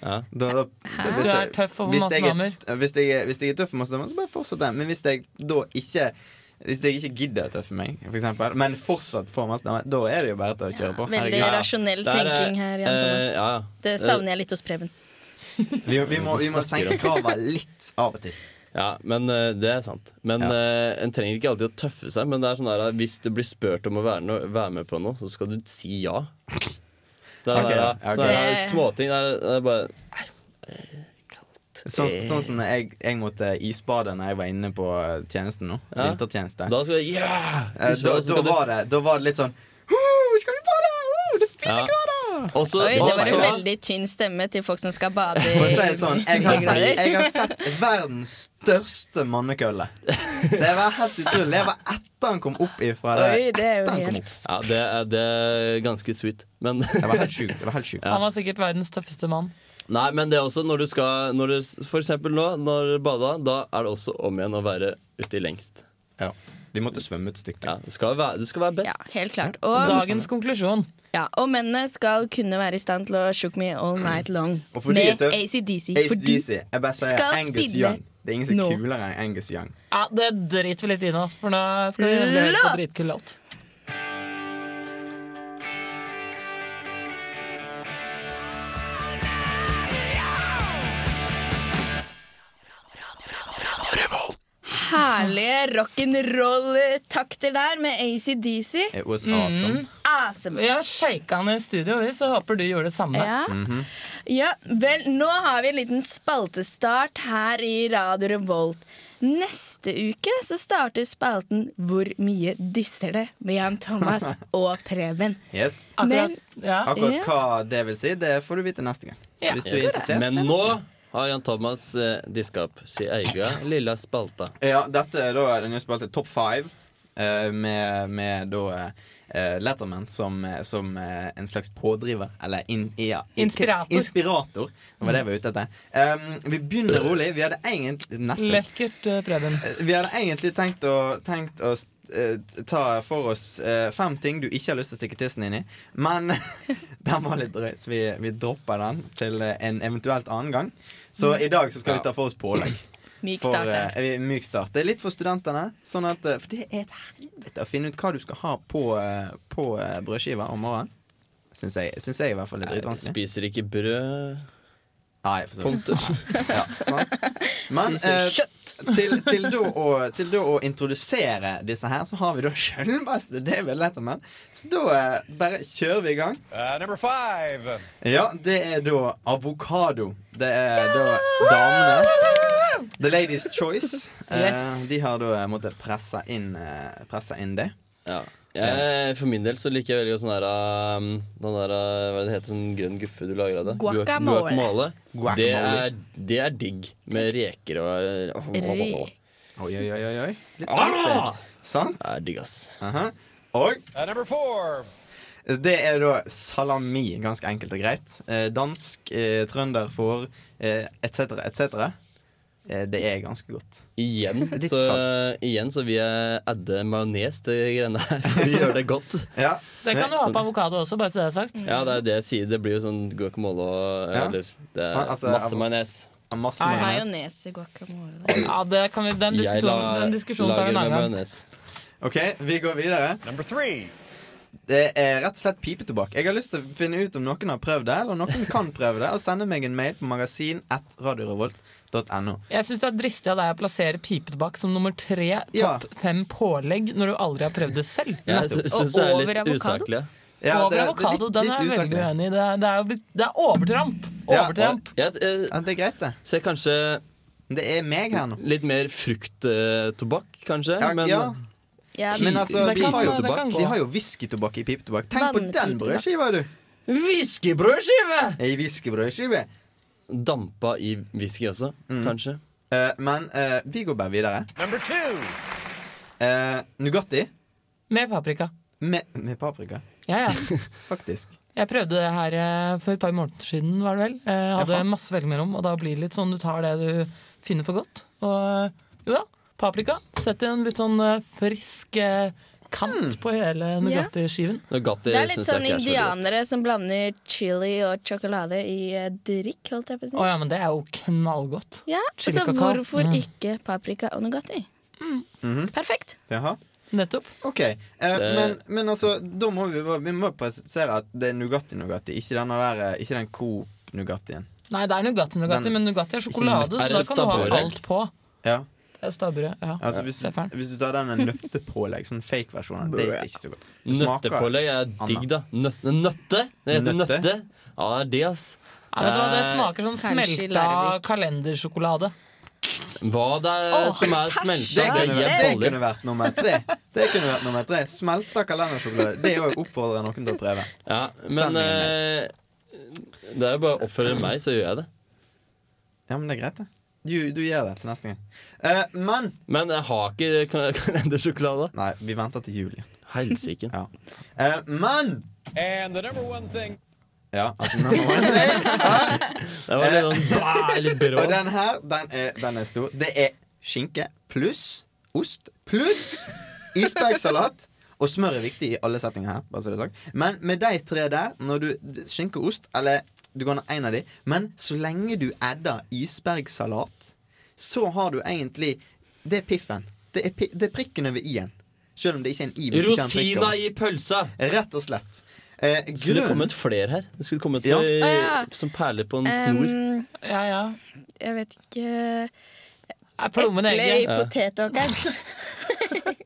Speaker 4: Da, da,
Speaker 5: Hvis du er tøff og får
Speaker 4: hvis
Speaker 5: masse
Speaker 4: jeg er-
Speaker 5: damer.
Speaker 4: Hvis jeg, er- hvis jeg er tøff og masse damer, så bare fortsett det. Men hvis jeg da ikke hvis jeg ikke gidder å tøffe meg, for eksempel, men fortsatt får masse damer, da er det jo bare til å kjøre på.
Speaker 1: veldig
Speaker 4: Herregud.
Speaker 1: rasjonell Der er- tenking her, Jan Thomas. eh, ja, ja. Det savner jeg litt hos Preben.
Speaker 4: Vi, vi, må, vi må senke krava litt av og til.
Speaker 2: Ja, men eh, det er sant. Men eh, En trenger ikke alltid å tøffe seg, men det er sånn der, eh, hvis du blir spurt om å være, no være med på noe, så skal du si ja. Det er
Speaker 4: Ok,
Speaker 2: der,
Speaker 4: ok.
Speaker 2: sånne der, småting der, det er bare
Speaker 4: Sånn,
Speaker 1: Eh,
Speaker 4: sånn som når jeg, jeg måtte isbade når jeg var inne på eh, tjenesten nå.
Speaker 2: Ja.
Speaker 4: Vintertjeneste.
Speaker 2: Da skal du Ja!
Speaker 4: Eh, da,
Speaker 2: Så
Speaker 4: da,
Speaker 2: skal du-
Speaker 4: var det, da var det litt sånn «Ho, Skal vi bade? Ho, det er fine
Speaker 2: Ja.
Speaker 4: grader!
Speaker 2: Også,
Speaker 1: Oi, det var en
Speaker 2: også,
Speaker 1: veldig tynn stemme til folk som skal bade i
Speaker 4: For å si det sånn, jeg har, sett,
Speaker 1: grader.
Speaker 4: jeg har sett verdens største mannekølle. Det var helt utrolig. Jeg var etter han kom opp ifra det.
Speaker 1: Oi, det er jo
Speaker 4: Etter han kom
Speaker 1: helt
Speaker 4: opp.
Speaker 2: ja, det, er, det er ganske sweet, men Det
Speaker 4: var helt sjukt. Det var helt sjukt.
Speaker 5: Han var sikkert verdens tøffeste mann.
Speaker 2: Nei, men det er også når du skal når du, For eksempel nå, når du bada, da er det også om igjen å være uti lengst.
Speaker 4: Ja. De måtte svømme et stykke.
Speaker 2: Ja, du skal være, du skal være best.
Speaker 1: Helt klart. Og,
Speaker 5: Dagens konklusjon.
Speaker 1: ja, og mennene skal kunne være i stand til å shook me all night long.
Speaker 4: Og fordi
Speaker 1: Med
Speaker 4: det-
Speaker 1: ACDC. Fordi
Speaker 4: ACDC. Jeg bare sier
Speaker 1: skal
Speaker 4: Angus
Speaker 1: spinne
Speaker 4: Young. Det er ingen som
Speaker 1: nå.
Speaker 4: er kulere enn Angus Young.
Speaker 5: Ja, Det driter vi litt i nå, for nå skal vi nemlig høre
Speaker 1: Låt!
Speaker 5: på dritkul låt.
Speaker 1: herlige rock'n'roll-takter der med ACDC.
Speaker 4: It was awesome.
Speaker 1: Awesome.
Speaker 5: Jeg shaka han i studio, vi, så håper du gjorde det samme.
Speaker 1: Ja.
Speaker 4: Mhm.
Speaker 1: Ja, vel, nå har vi en liten spaltestart her i Radio Revolt. Neste uke så starter spalten Hvor mye disser det? med Jan Thomas og Preben.
Speaker 4: Yes.
Speaker 1: Akkurat-
Speaker 4: Akkurat
Speaker 1: Ja.
Speaker 4: hva det vil si, det får du vite neste gang. Så hvis du er
Speaker 2: Yes.
Speaker 4: interessert
Speaker 2: Men nå har Jan Thomas eh, diska opp sin egen lille spalte.
Speaker 4: Ja, dette er da den nye spalten Top 5 med, med da eh, Letterman som, som eh, en slags pådriver. Eller in, ja, in-
Speaker 5: Inspirator.
Speaker 4: inspirator. Det var det jeg var ute etter. Um, vi begynner rolig. Vi hadde egentlig nettopp
Speaker 5: Lekkert, eh, Preben.
Speaker 4: Vi hadde egentlig tenkt å, tenkt å eh, ta for oss eh, fem ting du ikke har lyst til å stikke tissen inn i. Men den var litt drøy, så vi, vi dropper den til eh, en eventuelt annen gang. Så i dag så skal vi ta for oss pålegg.
Speaker 1: Mm. Myk
Speaker 4: For,
Speaker 1: start
Speaker 4: eh,
Speaker 1: der.
Speaker 4: vi- myk start. Det er litt for studentene. Sånn at, eh, for det er et helvete å finne ut hva du skal ha på, eh, på eh, brødskiva om morgenen. Syns jeg, syns jeg i hvert fall er dritvanskelig.
Speaker 2: Spiser ikke brød.
Speaker 4: Nei, for så vidt.
Speaker 2: Punktum.
Speaker 4: Ja, sant. Men
Speaker 2: Spiser
Speaker 4: eh, til, til, da å, til da å introdusere disse her, så har vi da selveste David Letterman. Så da eh, bare kjører vi i gang.
Speaker 13: Uh, number five.
Speaker 4: Ja, det er da avokado. Det er da damene. The Ladies Choice. Eh,
Speaker 2: Yes.
Speaker 4: de har da eh, måttet presse inn, eh, presse inn det.
Speaker 2: Ja. Jeg, for min del så liker jeg veldig godt sånn der, um, den der uh, Hva det heter sånn grønn guffe du lager av det? Guac-
Speaker 1: Guacamole.
Speaker 2: Guacamole.
Speaker 4: Guacamole.
Speaker 2: Det, er, det er digg. Med reker og
Speaker 1: Re-
Speaker 4: Oi, oi, oi, oi. Litt
Speaker 2: Ah!
Speaker 4: spenstig. Sant?
Speaker 2: Det er digg, ass.
Speaker 4: Aha. Og
Speaker 13: Uh, number four.
Speaker 4: Det er da salami, ganske enkelt og greit. Eh, dansk, eh, trønder får eh, etc., etc. Eh, det er ganske godt.
Speaker 2: Igjen
Speaker 4: Litt
Speaker 2: så,
Speaker 4: salt.
Speaker 2: igjen så vil jeg adde majones til greiene her, for å gjøre det godt.
Speaker 4: Ja.
Speaker 5: Det kan du ha på avokado også, bare så det er sagt.
Speaker 2: Ja, det er det jeg sier. Det blir jo sånn guacamole og
Speaker 4: Ja.
Speaker 2: Eller det er
Speaker 4: Sant, altså, av-
Speaker 2: masse majones.
Speaker 4: Masse majones.
Speaker 1: Majones i guacamole.
Speaker 5: Ja, det kan vi, den
Speaker 2: Jeg
Speaker 5: diskusjonen,
Speaker 2: la-
Speaker 5: den diskusjonen tar vi en
Speaker 2: lager med
Speaker 5: annen gang.
Speaker 2: majones.
Speaker 4: OK, vi går videre.
Speaker 13: Number three.
Speaker 4: Det er rett og slett pipetobakk. Jeg har lyst til å finne ut om noen har prøvd det, eller noen kan prøve det, og sende meg en mail på magasin.radiorevolt.no.
Speaker 5: Jeg syns det er dristig av deg å plassere pipetobakk som nummer tre
Speaker 4: Ja.
Speaker 5: topp fem pålegg når du aldri har prøvd det selv.
Speaker 2: Jeg sy- syns det er litt usaklig.
Speaker 4: Ja, det-
Speaker 5: Over
Speaker 4: det er
Speaker 5: avokado,
Speaker 4: litt-
Speaker 5: den
Speaker 4: litt
Speaker 5: er jeg
Speaker 4: usagt,
Speaker 5: veldig
Speaker 4: det.
Speaker 5: uenig i. Det er, det er, jo blitt, det er overtramp! Overtramp.
Speaker 2: Ja, det
Speaker 4: er greit, det.
Speaker 2: Ser kanskje
Speaker 4: Det er meg her nå.
Speaker 2: Litt mer frukttobakk, kanskje.
Speaker 4: Ja,
Speaker 2: men
Speaker 4: ja. Men altså, de, har jo, de har jo whiskytobakk i pipetobakk. Tenk på den
Speaker 2: Vannpipetobakk.
Speaker 4: brødskiva, du!
Speaker 2: Whiskybrødskive!
Speaker 4: Ei whiskybrødskive.
Speaker 2: Dampa i whisky også, kanskje.
Speaker 4: Eh, men eh, vi går bare videre.
Speaker 13: Number two.
Speaker 4: Eh, Nugatti
Speaker 5: Med paprika.
Speaker 4: med, med paprika.
Speaker 5: Ja, ja.
Speaker 4: Faktisk.
Speaker 5: Jeg prøvde det her eh, for et par måneder siden, var det vel. Eh, Jeg hadde
Speaker 4: Jaha.
Speaker 5: masse velg mellom, og da blir det litt sånn du tar det du finner for godt. Og eh, jo da, paprika. Sett i en litt sånn eh, frisk eh,
Speaker 4: Mm.
Speaker 5: kant på hele
Speaker 1: Ja.
Speaker 5: Nugatti-skiven.
Speaker 2: Nugatti
Speaker 1: Det er litt sånn indianere som blander chili og sjokolade i eh, drikk, holdt jeg på å si.
Speaker 5: Å ja, men det er jo knallgodt.
Speaker 1: Ja, Så
Speaker 5: Chili-kakao.
Speaker 1: hvorfor
Speaker 5: Mm.
Speaker 1: ikke paprika og Nugatti? Perfekt.
Speaker 4: Jaha.
Speaker 5: Nettopp.
Speaker 4: OK. eh, men, men altså, da må vi, bare- vi må presisere at det er Nugatti-Nugatti, ikke, denne der, eh, ikke den Coop-Nugattien.
Speaker 5: Nei, det er Nugatti-Nugatti,
Speaker 4: Den-
Speaker 5: men Nugatti er sjokolade,
Speaker 4: Ikke- Er
Speaker 5: så da
Speaker 4: det
Speaker 5: kan du ha
Speaker 4: stabburet?
Speaker 5: alt på.
Speaker 4: Ja.
Speaker 5: Det er stabburet, ja.
Speaker 4: Altså, hvis,
Speaker 5: Se for den.
Speaker 4: hvis du tar den nøttepålegg, sånn fake-versjonen, det er ikke så godt. Det smaker
Speaker 2: Nøttepålegg er digg,
Speaker 4: annet.
Speaker 2: da. Nøt, nøtte? Det heter nøtte.
Speaker 4: Nøtte.
Speaker 2: Ja, det er det, ass.
Speaker 5: Ja, vet du hva, Det smaker sånn
Speaker 1: Eh, Kanskje
Speaker 5: smelta
Speaker 1: Larvik.
Speaker 5: kalendersjokolade.
Speaker 2: Eh, Hva det er
Speaker 5: Åh,
Speaker 2: som er
Speaker 5: tæsj.
Speaker 2: smelta,
Speaker 4: Det
Speaker 2: det
Speaker 4: kunne, vært,
Speaker 2: gir
Speaker 4: det
Speaker 2: boller.
Speaker 4: kunne vært nummer tre. Det kunne vært nummer tre Smelta kalendersjokolade. Det òg oppfordrer jeg noen til å prøve.
Speaker 2: Ja,
Speaker 4: Send
Speaker 2: men eh, det er jo bare å oppføre meg, så gjør jeg det.
Speaker 4: Ja, men det er greit, det. Du, du gjør det til neste gang. Eh, men
Speaker 2: Men jeg har ikke kal- kalendersjokolade.
Speaker 4: Nei, vi venter til jul igjen.
Speaker 2: Helsike.
Speaker 4: Ja. Eh, men
Speaker 13: And the number one thing.
Speaker 4: Ja, altså number one thing
Speaker 2: Det var litt sånn bæ, litt brå.
Speaker 4: Og den her, den Eh, er, den er stor. Det er skinke pluss ost pluss isbergsalat. Og smør er viktig i alle settinger her. Bare så det er sagt. Men med de tre der, når du skinke og ost, eller du kan ha én av de, men så lenge du adder isbergsalat, så har du egentlig Det er piffen. Det er, pi, det er prikken over i-en. Selv om det ikke er en i. men du kjenner prikken
Speaker 2: Rosina
Speaker 4: over.
Speaker 2: i pølsa!
Speaker 4: Rett og slett. Eh,
Speaker 2: Skulle det
Speaker 4: grunnen-
Speaker 2: kommet flere her? Det skulle kommet
Speaker 4: Ja.
Speaker 2: eh,
Speaker 1: Å, ja.
Speaker 2: som perler på en snor.
Speaker 1: Um,
Speaker 5: ja, ja.
Speaker 1: Jeg vet ikke
Speaker 5: plommen
Speaker 1: Eple i
Speaker 5: egget?
Speaker 2: Ja.
Speaker 1: potetåkeren.
Speaker 5: den-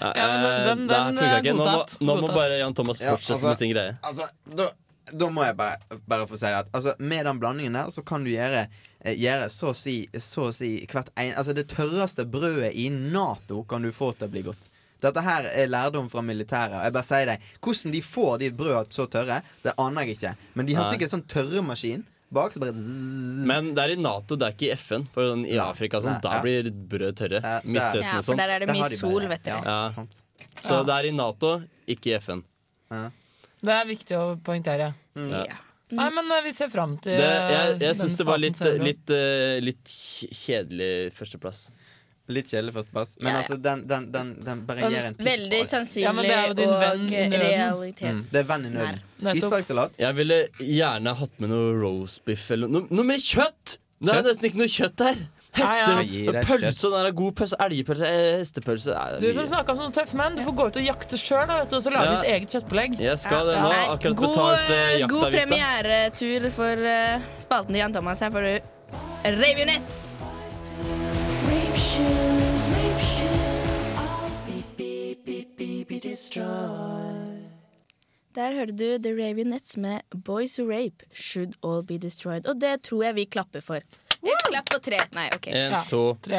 Speaker 2: Eh,
Speaker 5: den,
Speaker 2: nei, funka
Speaker 5: eh,
Speaker 2: ikke. Nå, må-
Speaker 5: godtatt.
Speaker 2: nå må
Speaker 5: Godtatt.
Speaker 2: bare Jan Thomas
Speaker 4: Ja,
Speaker 2: fortsette
Speaker 4: altså-
Speaker 2: med sin greie.
Speaker 4: Altså, da, da må jeg bare, bare få si det at altså, med den blandingen der, så kan du gjøre, eh, gjøre så, å si, så å si hvert en Altså, det tørreste brødet i Nato kan du få til å bli godt. Dette her er lærdom fra militæret. Jeg bare sier deg, Hvordan de får de brøda så tørre, det aner jeg ikke. Men de har
Speaker 2: Nei.
Speaker 4: sikkert sånn tørremaskin bak. Så bare zzz.
Speaker 2: Men det er i Nato, det er ikke i FN. For sånn, I Afrika og sånn,
Speaker 4: nei,
Speaker 2: da
Speaker 4: ja.
Speaker 2: blir brød tørre. Midtøsten
Speaker 1: Ja,
Speaker 2: og
Speaker 1: for
Speaker 2: sånt.
Speaker 1: der er det Der mye har de bare- sol, vet dere.
Speaker 2: Ja. Så
Speaker 5: Ja.
Speaker 2: det er i Nato, ikke i FN.
Speaker 5: Det er viktig å poengtere.
Speaker 1: Mm,
Speaker 2: Ja.
Speaker 5: Nei, men eh, vi ser fram til
Speaker 2: Det, jeg
Speaker 5: eh,
Speaker 2: jeg syns
Speaker 5: denne
Speaker 2: det var
Speaker 5: spalten
Speaker 2: litt,
Speaker 5: senere.
Speaker 2: litt, eh, litt kj- kjedelig førsteplass.
Speaker 4: Litt kjedelig førsteplass. Men altså, den, den, den, den bare gir en pip.
Speaker 1: Veldig
Speaker 5: Ja, men
Speaker 1: sannsynlig
Speaker 5: det er jo din venn eh,
Speaker 1: og
Speaker 5: i
Speaker 4: Mm,
Speaker 5: nøden.
Speaker 4: det er
Speaker 1: realitetsnær.
Speaker 4: venn i nøden. Isbergsalat.
Speaker 2: Jeg ville gjerne hatt med noe roastbiff eller noe, noe med kjøtt! Det er
Speaker 4: Kjøtt?
Speaker 2: nesten ikke noe kjøtt her! Heste,
Speaker 4: Nei, ja. Gi deg
Speaker 2: Pølse, den der er god pølse. Elgpølse, eh, hestepølse nei,
Speaker 5: Du
Speaker 2: det er
Speaker 5: som
Speaker 2: mye.
Speaker 5: snakka om sånne tøffe menn, du får gå ut og jakte sjøl og så lage
Speaker 2: Ja.
Speaker 5: ditt eget kjøttpålegg.
Speaker 2: Jeg skal det
Speaker 5: Ja.
Speaker 2: nå.
Speaker 5: Nei,
Speaker 2: Akkurat
Speaker 1: God,
Speaker 2: betalt eh,
Speaker 1: eh, god
Speaker 2: jaktavgifta.
Speaker 1: premieretur for eh, spalten til Jan Thomas. Her får du Rave Your Nets. Der hørte du The Rave Your Nets med Boys Who Rape Should All Be Destroyed. Og det tror jeg vi klapper for. Et klapp på tre. Nei, OK.
Speaker 2: En, to.
Speaker 5: Tre.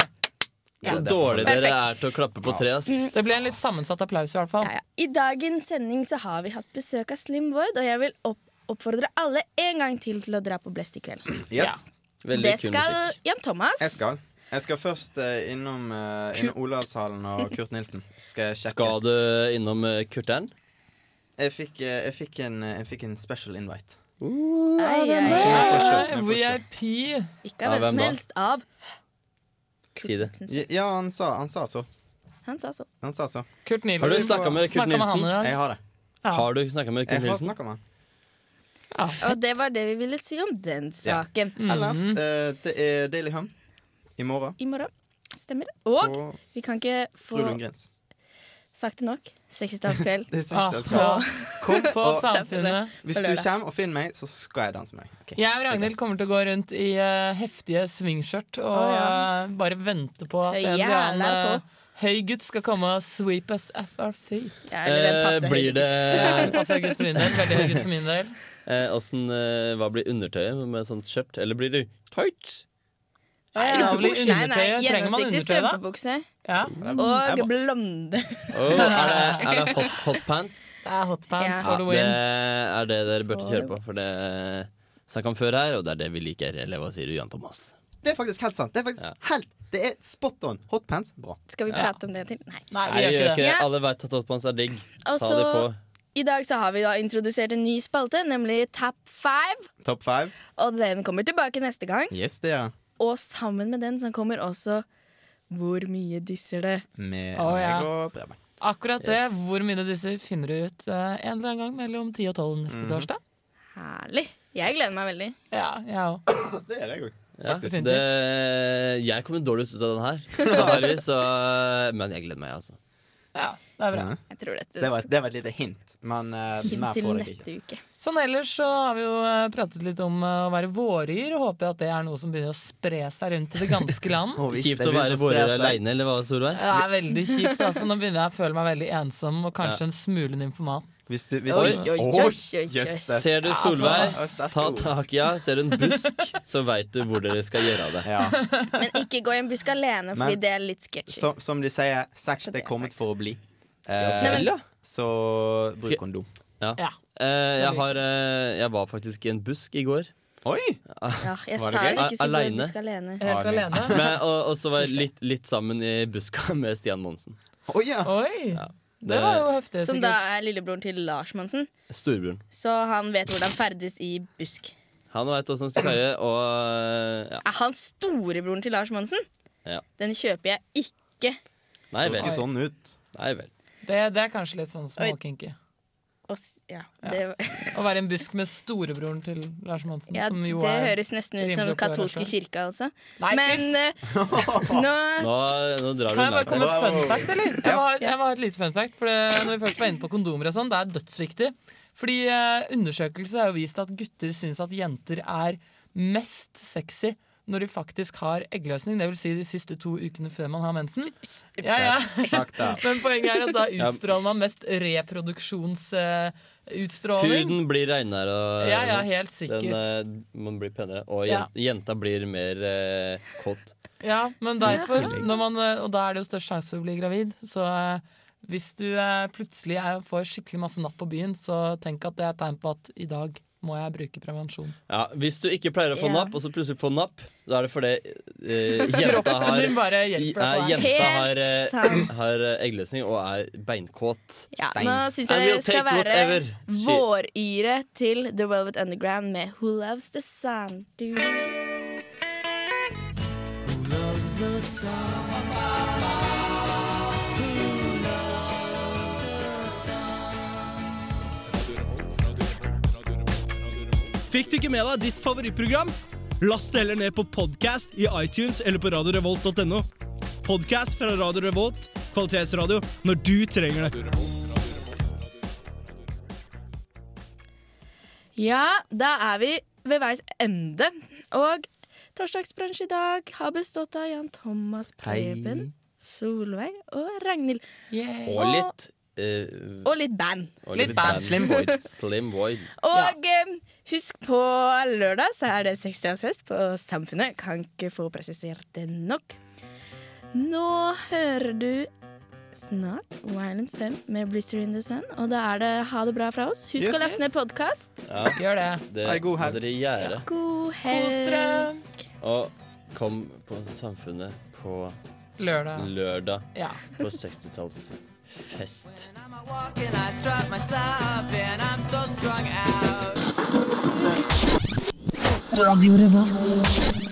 Speaker 1: Ja.
Speaker 2: Hvor dårlig dere
Speaker 1: Perfekt. Mm.
Speaker 2: er til å klappe på tre, ass.
Speaker 5: Det ble en litt sammensatt applaus, i hvert fall.
Speaker 1: I dagens sending så har vi hatt besøk av Slim Void, og jeg vil opp oppfordre alle en gang til til å dra på Blest i kveld.
Speaker 4: Yes.
Speaker 1: det skal Jan Thomas.
Speaker 4: Jeg skal. Jeg skal først eh, innom, eh, innom Olavshallen og Kurt Nilsen. Skal jeg sjekke.
Speaker 2: Skal du innom eh, Kurteren?
Speaker 4: Jeg fikk, eh, jeg fikk, en, jeg fikk en special invite.
Speaker 1: Ai, ai,
Speaker 4: Vi
Speaker 1: ai.
Speaker 4: får se, vi
Speaker 5: Eh,
Speaker 4: får se.
Speaker 5: VIP.
Speaker 1: Ikke av
Speaker 4: Ja,
Speaker 1: hvem
Speaker 4: hvem
Speaker 1: som
Speaker 4: da?
Speaker 1: helst. Av
Speaker 2: Si det.
Speaker 4: Ja, han sa, han sa så.
Speaker 1: Han sa så.
Speaker 4: Han sa så.
Speaker 5: Kurt Nilsen.
Speaker 2: Har du snakka med Kurt
Speaker 5: Snakket med han
Speaker 2: Nilsen?
Speaker 5: i dag?
Speaker 4: Jeg har det.
Speaker 5: Ja.
Speaker 2: Har du snakka med Kurt
Speaker 4: Jeg har
Speaker 2: Nilsen?
Speaker 4: snakka med han.
Speaker 1: Og det var det vi ville si om den saken.
Speaker 4: Ellers,
Speaker 5: Mhm.
Speaker 4: eh, det er Daily Hum i morgen.
Speaker 1: I morgen. Stemmer det. Og
Speaker 4: Og
Speaker 1: vi kan ikke
Speaker 4: Fru
Speaker 1: få
Speaker 4: Lundgrens.
Speaker 1: sagt det nok. 60-tallskveld.
Speaker 4: Det er siste
Speaker 5: Ah,
Speaker 4: Kom
Speaker 5: På
Speaker 4: og-
Speaker 5: Samfunnet.
Speaker 4: Hvis du kommer og finner meg, så skal jeg danse med deg. Ok.
Speaker 5: Jeg og Ragnhild kommer til å gå rundt i eh, heftige svingskjørt og
Speaker 1: Å, ja.
Speaker 5: eh, bare vente på at en
Speaker 1: Jævlar
Speaker 5: eller annen eh, Høygutt skal komme og sweep us off our feet.
Speaker 1: Ja,
Speaker 2: eller den passer Eh, blir høygutt. det-
Speaker 5: Ja, den passer høygutt for min del. Veldig høygutt for min del.
Speaker 2: Eh, åssen, eh, hva blir undertøyet med sånt kjøpt? Eller blir det tights?
Speaker 5: Ja, blir
Speaker 1: Strømpebukse. Nei, nei,
Speaker 5: undertøyet- trenger man
Speaker 1: gjennomsiktig
Speaker 5: undertøy, da?
Speaker 1: strømpebukse.
Speaker 5: Ja.
Speaker 1: Og blonde.
Speaker 2: Oh, er det, er det hot, hot pants?
Speaker 5: Det er hotpants
Speaker 1: Ja.
Speaker 5: for the
Speaker 2: det
Speaker 5: win.
Speaker 2: er det dere burde
Speaker 1: For-
Speaker 2: kjøre på, for det snakka om før her, og det er det vi liker. Eller hva sier du, Jan Thomas?
Speaker 4: Det er faktisk helt sant. Det er faktisk helt Det er spot on. Hotpants, bra.
Speaker 1: Skal vi
Speaker 2: Ja.
Speaker 1: prate om det til? Nei.
Speaker 2: Nei, vi gjør ikke det.
Speaker 1: Ja,
Speaker 2: Alle veit at hotpants er digg. Ta
Speaker 1: Og
Speaker 2: de på.
Speaker 1: så I dag så har vi da introdusert en ny spalte, nemlig Tap 5.
Speaker 4: Top five.
Speaker 1: Og den kommer tilbake neste gang.
Speaker 4: Yes, det er
Speaker 1: Og sammen med den så kommer også Hvor mye disser det?
Speaker 4: med
Speaker 5: Å, ja.
Speaker 4: meg og Preben.
Speaker 5: Akkurat det.
Speaker 4: Yes.
Speaker 5: Hvor mye det disser, finner du ut eh, en eller annen gang mellom 10 og 12 neste
Speaker 4: Mhm.
Speaker 5: torsdag.
Speaker 1: Herlig. Jeg gleder meg veldig.
Speaker 5: Ja, jeg òg.
Speaker 4: Det er det òg.
Speaker 2: Ja,
Speaker 5: Faktisk.
Speaker 2: det, jeg kommer dårligst ut av den her, antageligvis, så- men jeg gleder meg, altså.
Speaker 5: Det er bra.
Speaker 4: Ja.
Speaker 1: Jeg tror dette
Speaker 4: Det var, det var et lite hint, men eh, mer
Speaker 1: til
Speaker 4: får dere ikke.
Speaker 1: neste uke.
Speaker 5: Sånn ellers så har vi jo eh, pratet litt om eh, å være våryer, og håper at det er noe som begynner å spre seg rundt i det ganske land.
Speaker 2: Kjipt å være vårer aleine, eller hva, Solveig?
Speaker 5: Det er veldig kjipt. altså Nå begynner jeg å føle meg veldig ensom og kanskje
Speaker 2: Ja.
Speaker 5: en smule nymphoman.
Speaker 4: Hvis du,
Speaker 5: hvis- Oi, oi, oi, oi, oi.
Speaker 2: Ser du
Speaker 5: Ja,
Speaker 2: Solveig,
Speaker 5: altså.
Speaker 2: ta tak i henne. Ser du en busk, så veit du hvor dere skal gjøre av det.
Speaker 1: Men ikke gå i en busk alene, fordi
Speaker 4: Men-
Speaker 1: det er litt sketchy.
Speaker 4: Som, som de sier, sex det er kommet for å bli. Eh,
Speaker 1: Nei, men- Ja.
Speaker 4: Så bruk kondom.
Speaker 2: Ja. Eh, jeg, har, eh, jeg var faktisk i en busk i går.
Speaker 4: Oi!
Speaker 1: Ja, jeg sa jo ikke så god busk alene.
Speaker 5: Helt alene.
Speaker 2: Men, og, og så var jeg litt, litt sammen i buska med Stian Monsen.
Speaker 4: Oi, ja.
Speaker 5: Oi.
Speaker 2: Det var jo
Speaker 5: heftig,
Speaker 1: Som
Speaker 5: sikkert.
Speaker 1: da er lillebroren til Lars Monsen.
Speaker 2: Storebroren.
Speaker 1: Så han vet hvordan ferdes i busk.
Speaker 2: Han veit åssen han skal kaie, og eh, ja.
Speaker 1: Er han storebroren til Lars Monsen?
Speaker 2: ja.
Speaker 1: Den kjøper jeg ikke.
Speaker 2: Nei
Speaker 4: Så
Speaker 2: vel.
Speaker 4: ikke sånn ut.
Speaker 2: Nei vel.
Speaker 5: Det, det er kanskje litt sånn
Speaker 1: Oi.
Speaker 5: småkinky.
Speaker 1: Og, s- ja, det,
Speaker 5: Ja. Å være i en busk med storebroren til Lars Monsen.
Speaker 1: ja,
Speaker 5: som
Speaker 1: det
Speaker 5: jo er
Speaker 1: høres nesten ut som
Speaker 5: rimelig
Speaker 1: den
Speaker 5: oppi
Speaker 1: katolske
Speaker 5: hverandre.
Speaker 1: kirka, altså.
Speaker 5: Nei,
Speaker 1: Men eh, nå
Speaker 2: Nå, nå drar du
Speaker 5: Kan jeg bare komme med et fun fact, eller? Jeg må, ha,
Speaker 1: Ja.
Speaker 5: jeg må ha et lite fun fact, for det, når vi først var inne på kondomer og sånn, det er dødsviktig. Fordi eh, undersøkelser har jo vist at gutter syns at jenter er mest sexy når de faktisk har eggløsning, det vil Si de siste to ukene før man har mensen. Ja, ja.
Speaker 4: Takk da.
Speaker 5: Men poenget er at da
Speaker 2: Ja.
Speaker 5: utstråler man mest reproduksjonsutstråling.
Speaker 2: Huden blir reinere og
Speaker 5: Ja, ja, helt sikkert.
Speaker 2: Den, eh, man blir penere. Og
Speaker 5: Ja.
Speaker 2: jen- jenta blir mer eh, kåt.
Speaker 5: ja, men
Speaker 2: I
Speaker 5: derfor,
Speaker 2: tillegg.
Speaker 5: når man, eh, og da er det jo størst sjanse for å bli gravid. Så eh, hvis du eh, plutselig er, får skikkelig masse napp på byen, så tenk at det er et tegn på at i dag må jeg bruke prevensjon.
Speaker 2: Ja, hvis du ikke pleier å få
Speaker 5: Ja.
Speaker 2: napp, og så plutselig får napp, da er det fordi eh, jenta
Speaker 5: Kroppen
Speaker 2: har
Speaker 5: din bare hjelper deg
Speaker 2: Nei,
Speaker 5: på vei.
Speaker 2: jenta
Speaker 1: Helt
Speaker 2: har, eh,
Speaker 1: sant.
Speaker 2: har eh, eggløsning og er beinkåt.
Speaker 1: Ja, nå syns
Speaker 2: I
Speaker 1: jeg
Speaker 2: will
Speaker 1: det skal
Speaker 2: take
Speaker 1: være
Speaker 2: whatever she-
Speaker 1: våryre til The Velvet Underground med Who Loves The Sun. Du.
Speaker 14: Fikk du ikke med deg ditt favorittprogram? Last det heller ned på podcast i iTunes eller på radiorevolt.no. Podcast fra Radio Revolt, kvalitetsradio, når du trenger det.
Speaker 1: Ja, da er vi ved veis ende. Og torsdagsbransje i dag har bestått av Jan Thomas,
Speaker 2: Hei.
Speaker 1: Preben, Solveig og Ragnhild.
Speaker 2: Og litt eh,
Speaker 1: Og litt band.
Speaker 2: og litt band. Slim Void.
Speaker 1: Og eh, husk, på lørdag så er det 60-årsfest på Samfunnet. Kan ikke få presisert det nok. Nå hører du snart Violent 5 med Blister in the Sun. Og da er det ha det bra fra oss. Husk
Speaker 5: Yes,
Speaker 1: å laste ned podkast.
Speaker 2: Ja,
Speaker 5: Gjør det.
Speaker 2: det
Speaker 5: Ha en
Speaker 2: god helg. Dere gjøre.
Speaker 1: God helg.
Speaker 5: Kos dere.
Speaker 2: Og kom på Samfunnet på
Speaker 5: Lørdag.
Speaker 2: lørdag
Speaker 5: Ja.
Speaker 2: på 60-tallsfest.
Speaker 15: Walking, I strap my stuff and I'm so strung out.
Speaker 16: Radio Revolt.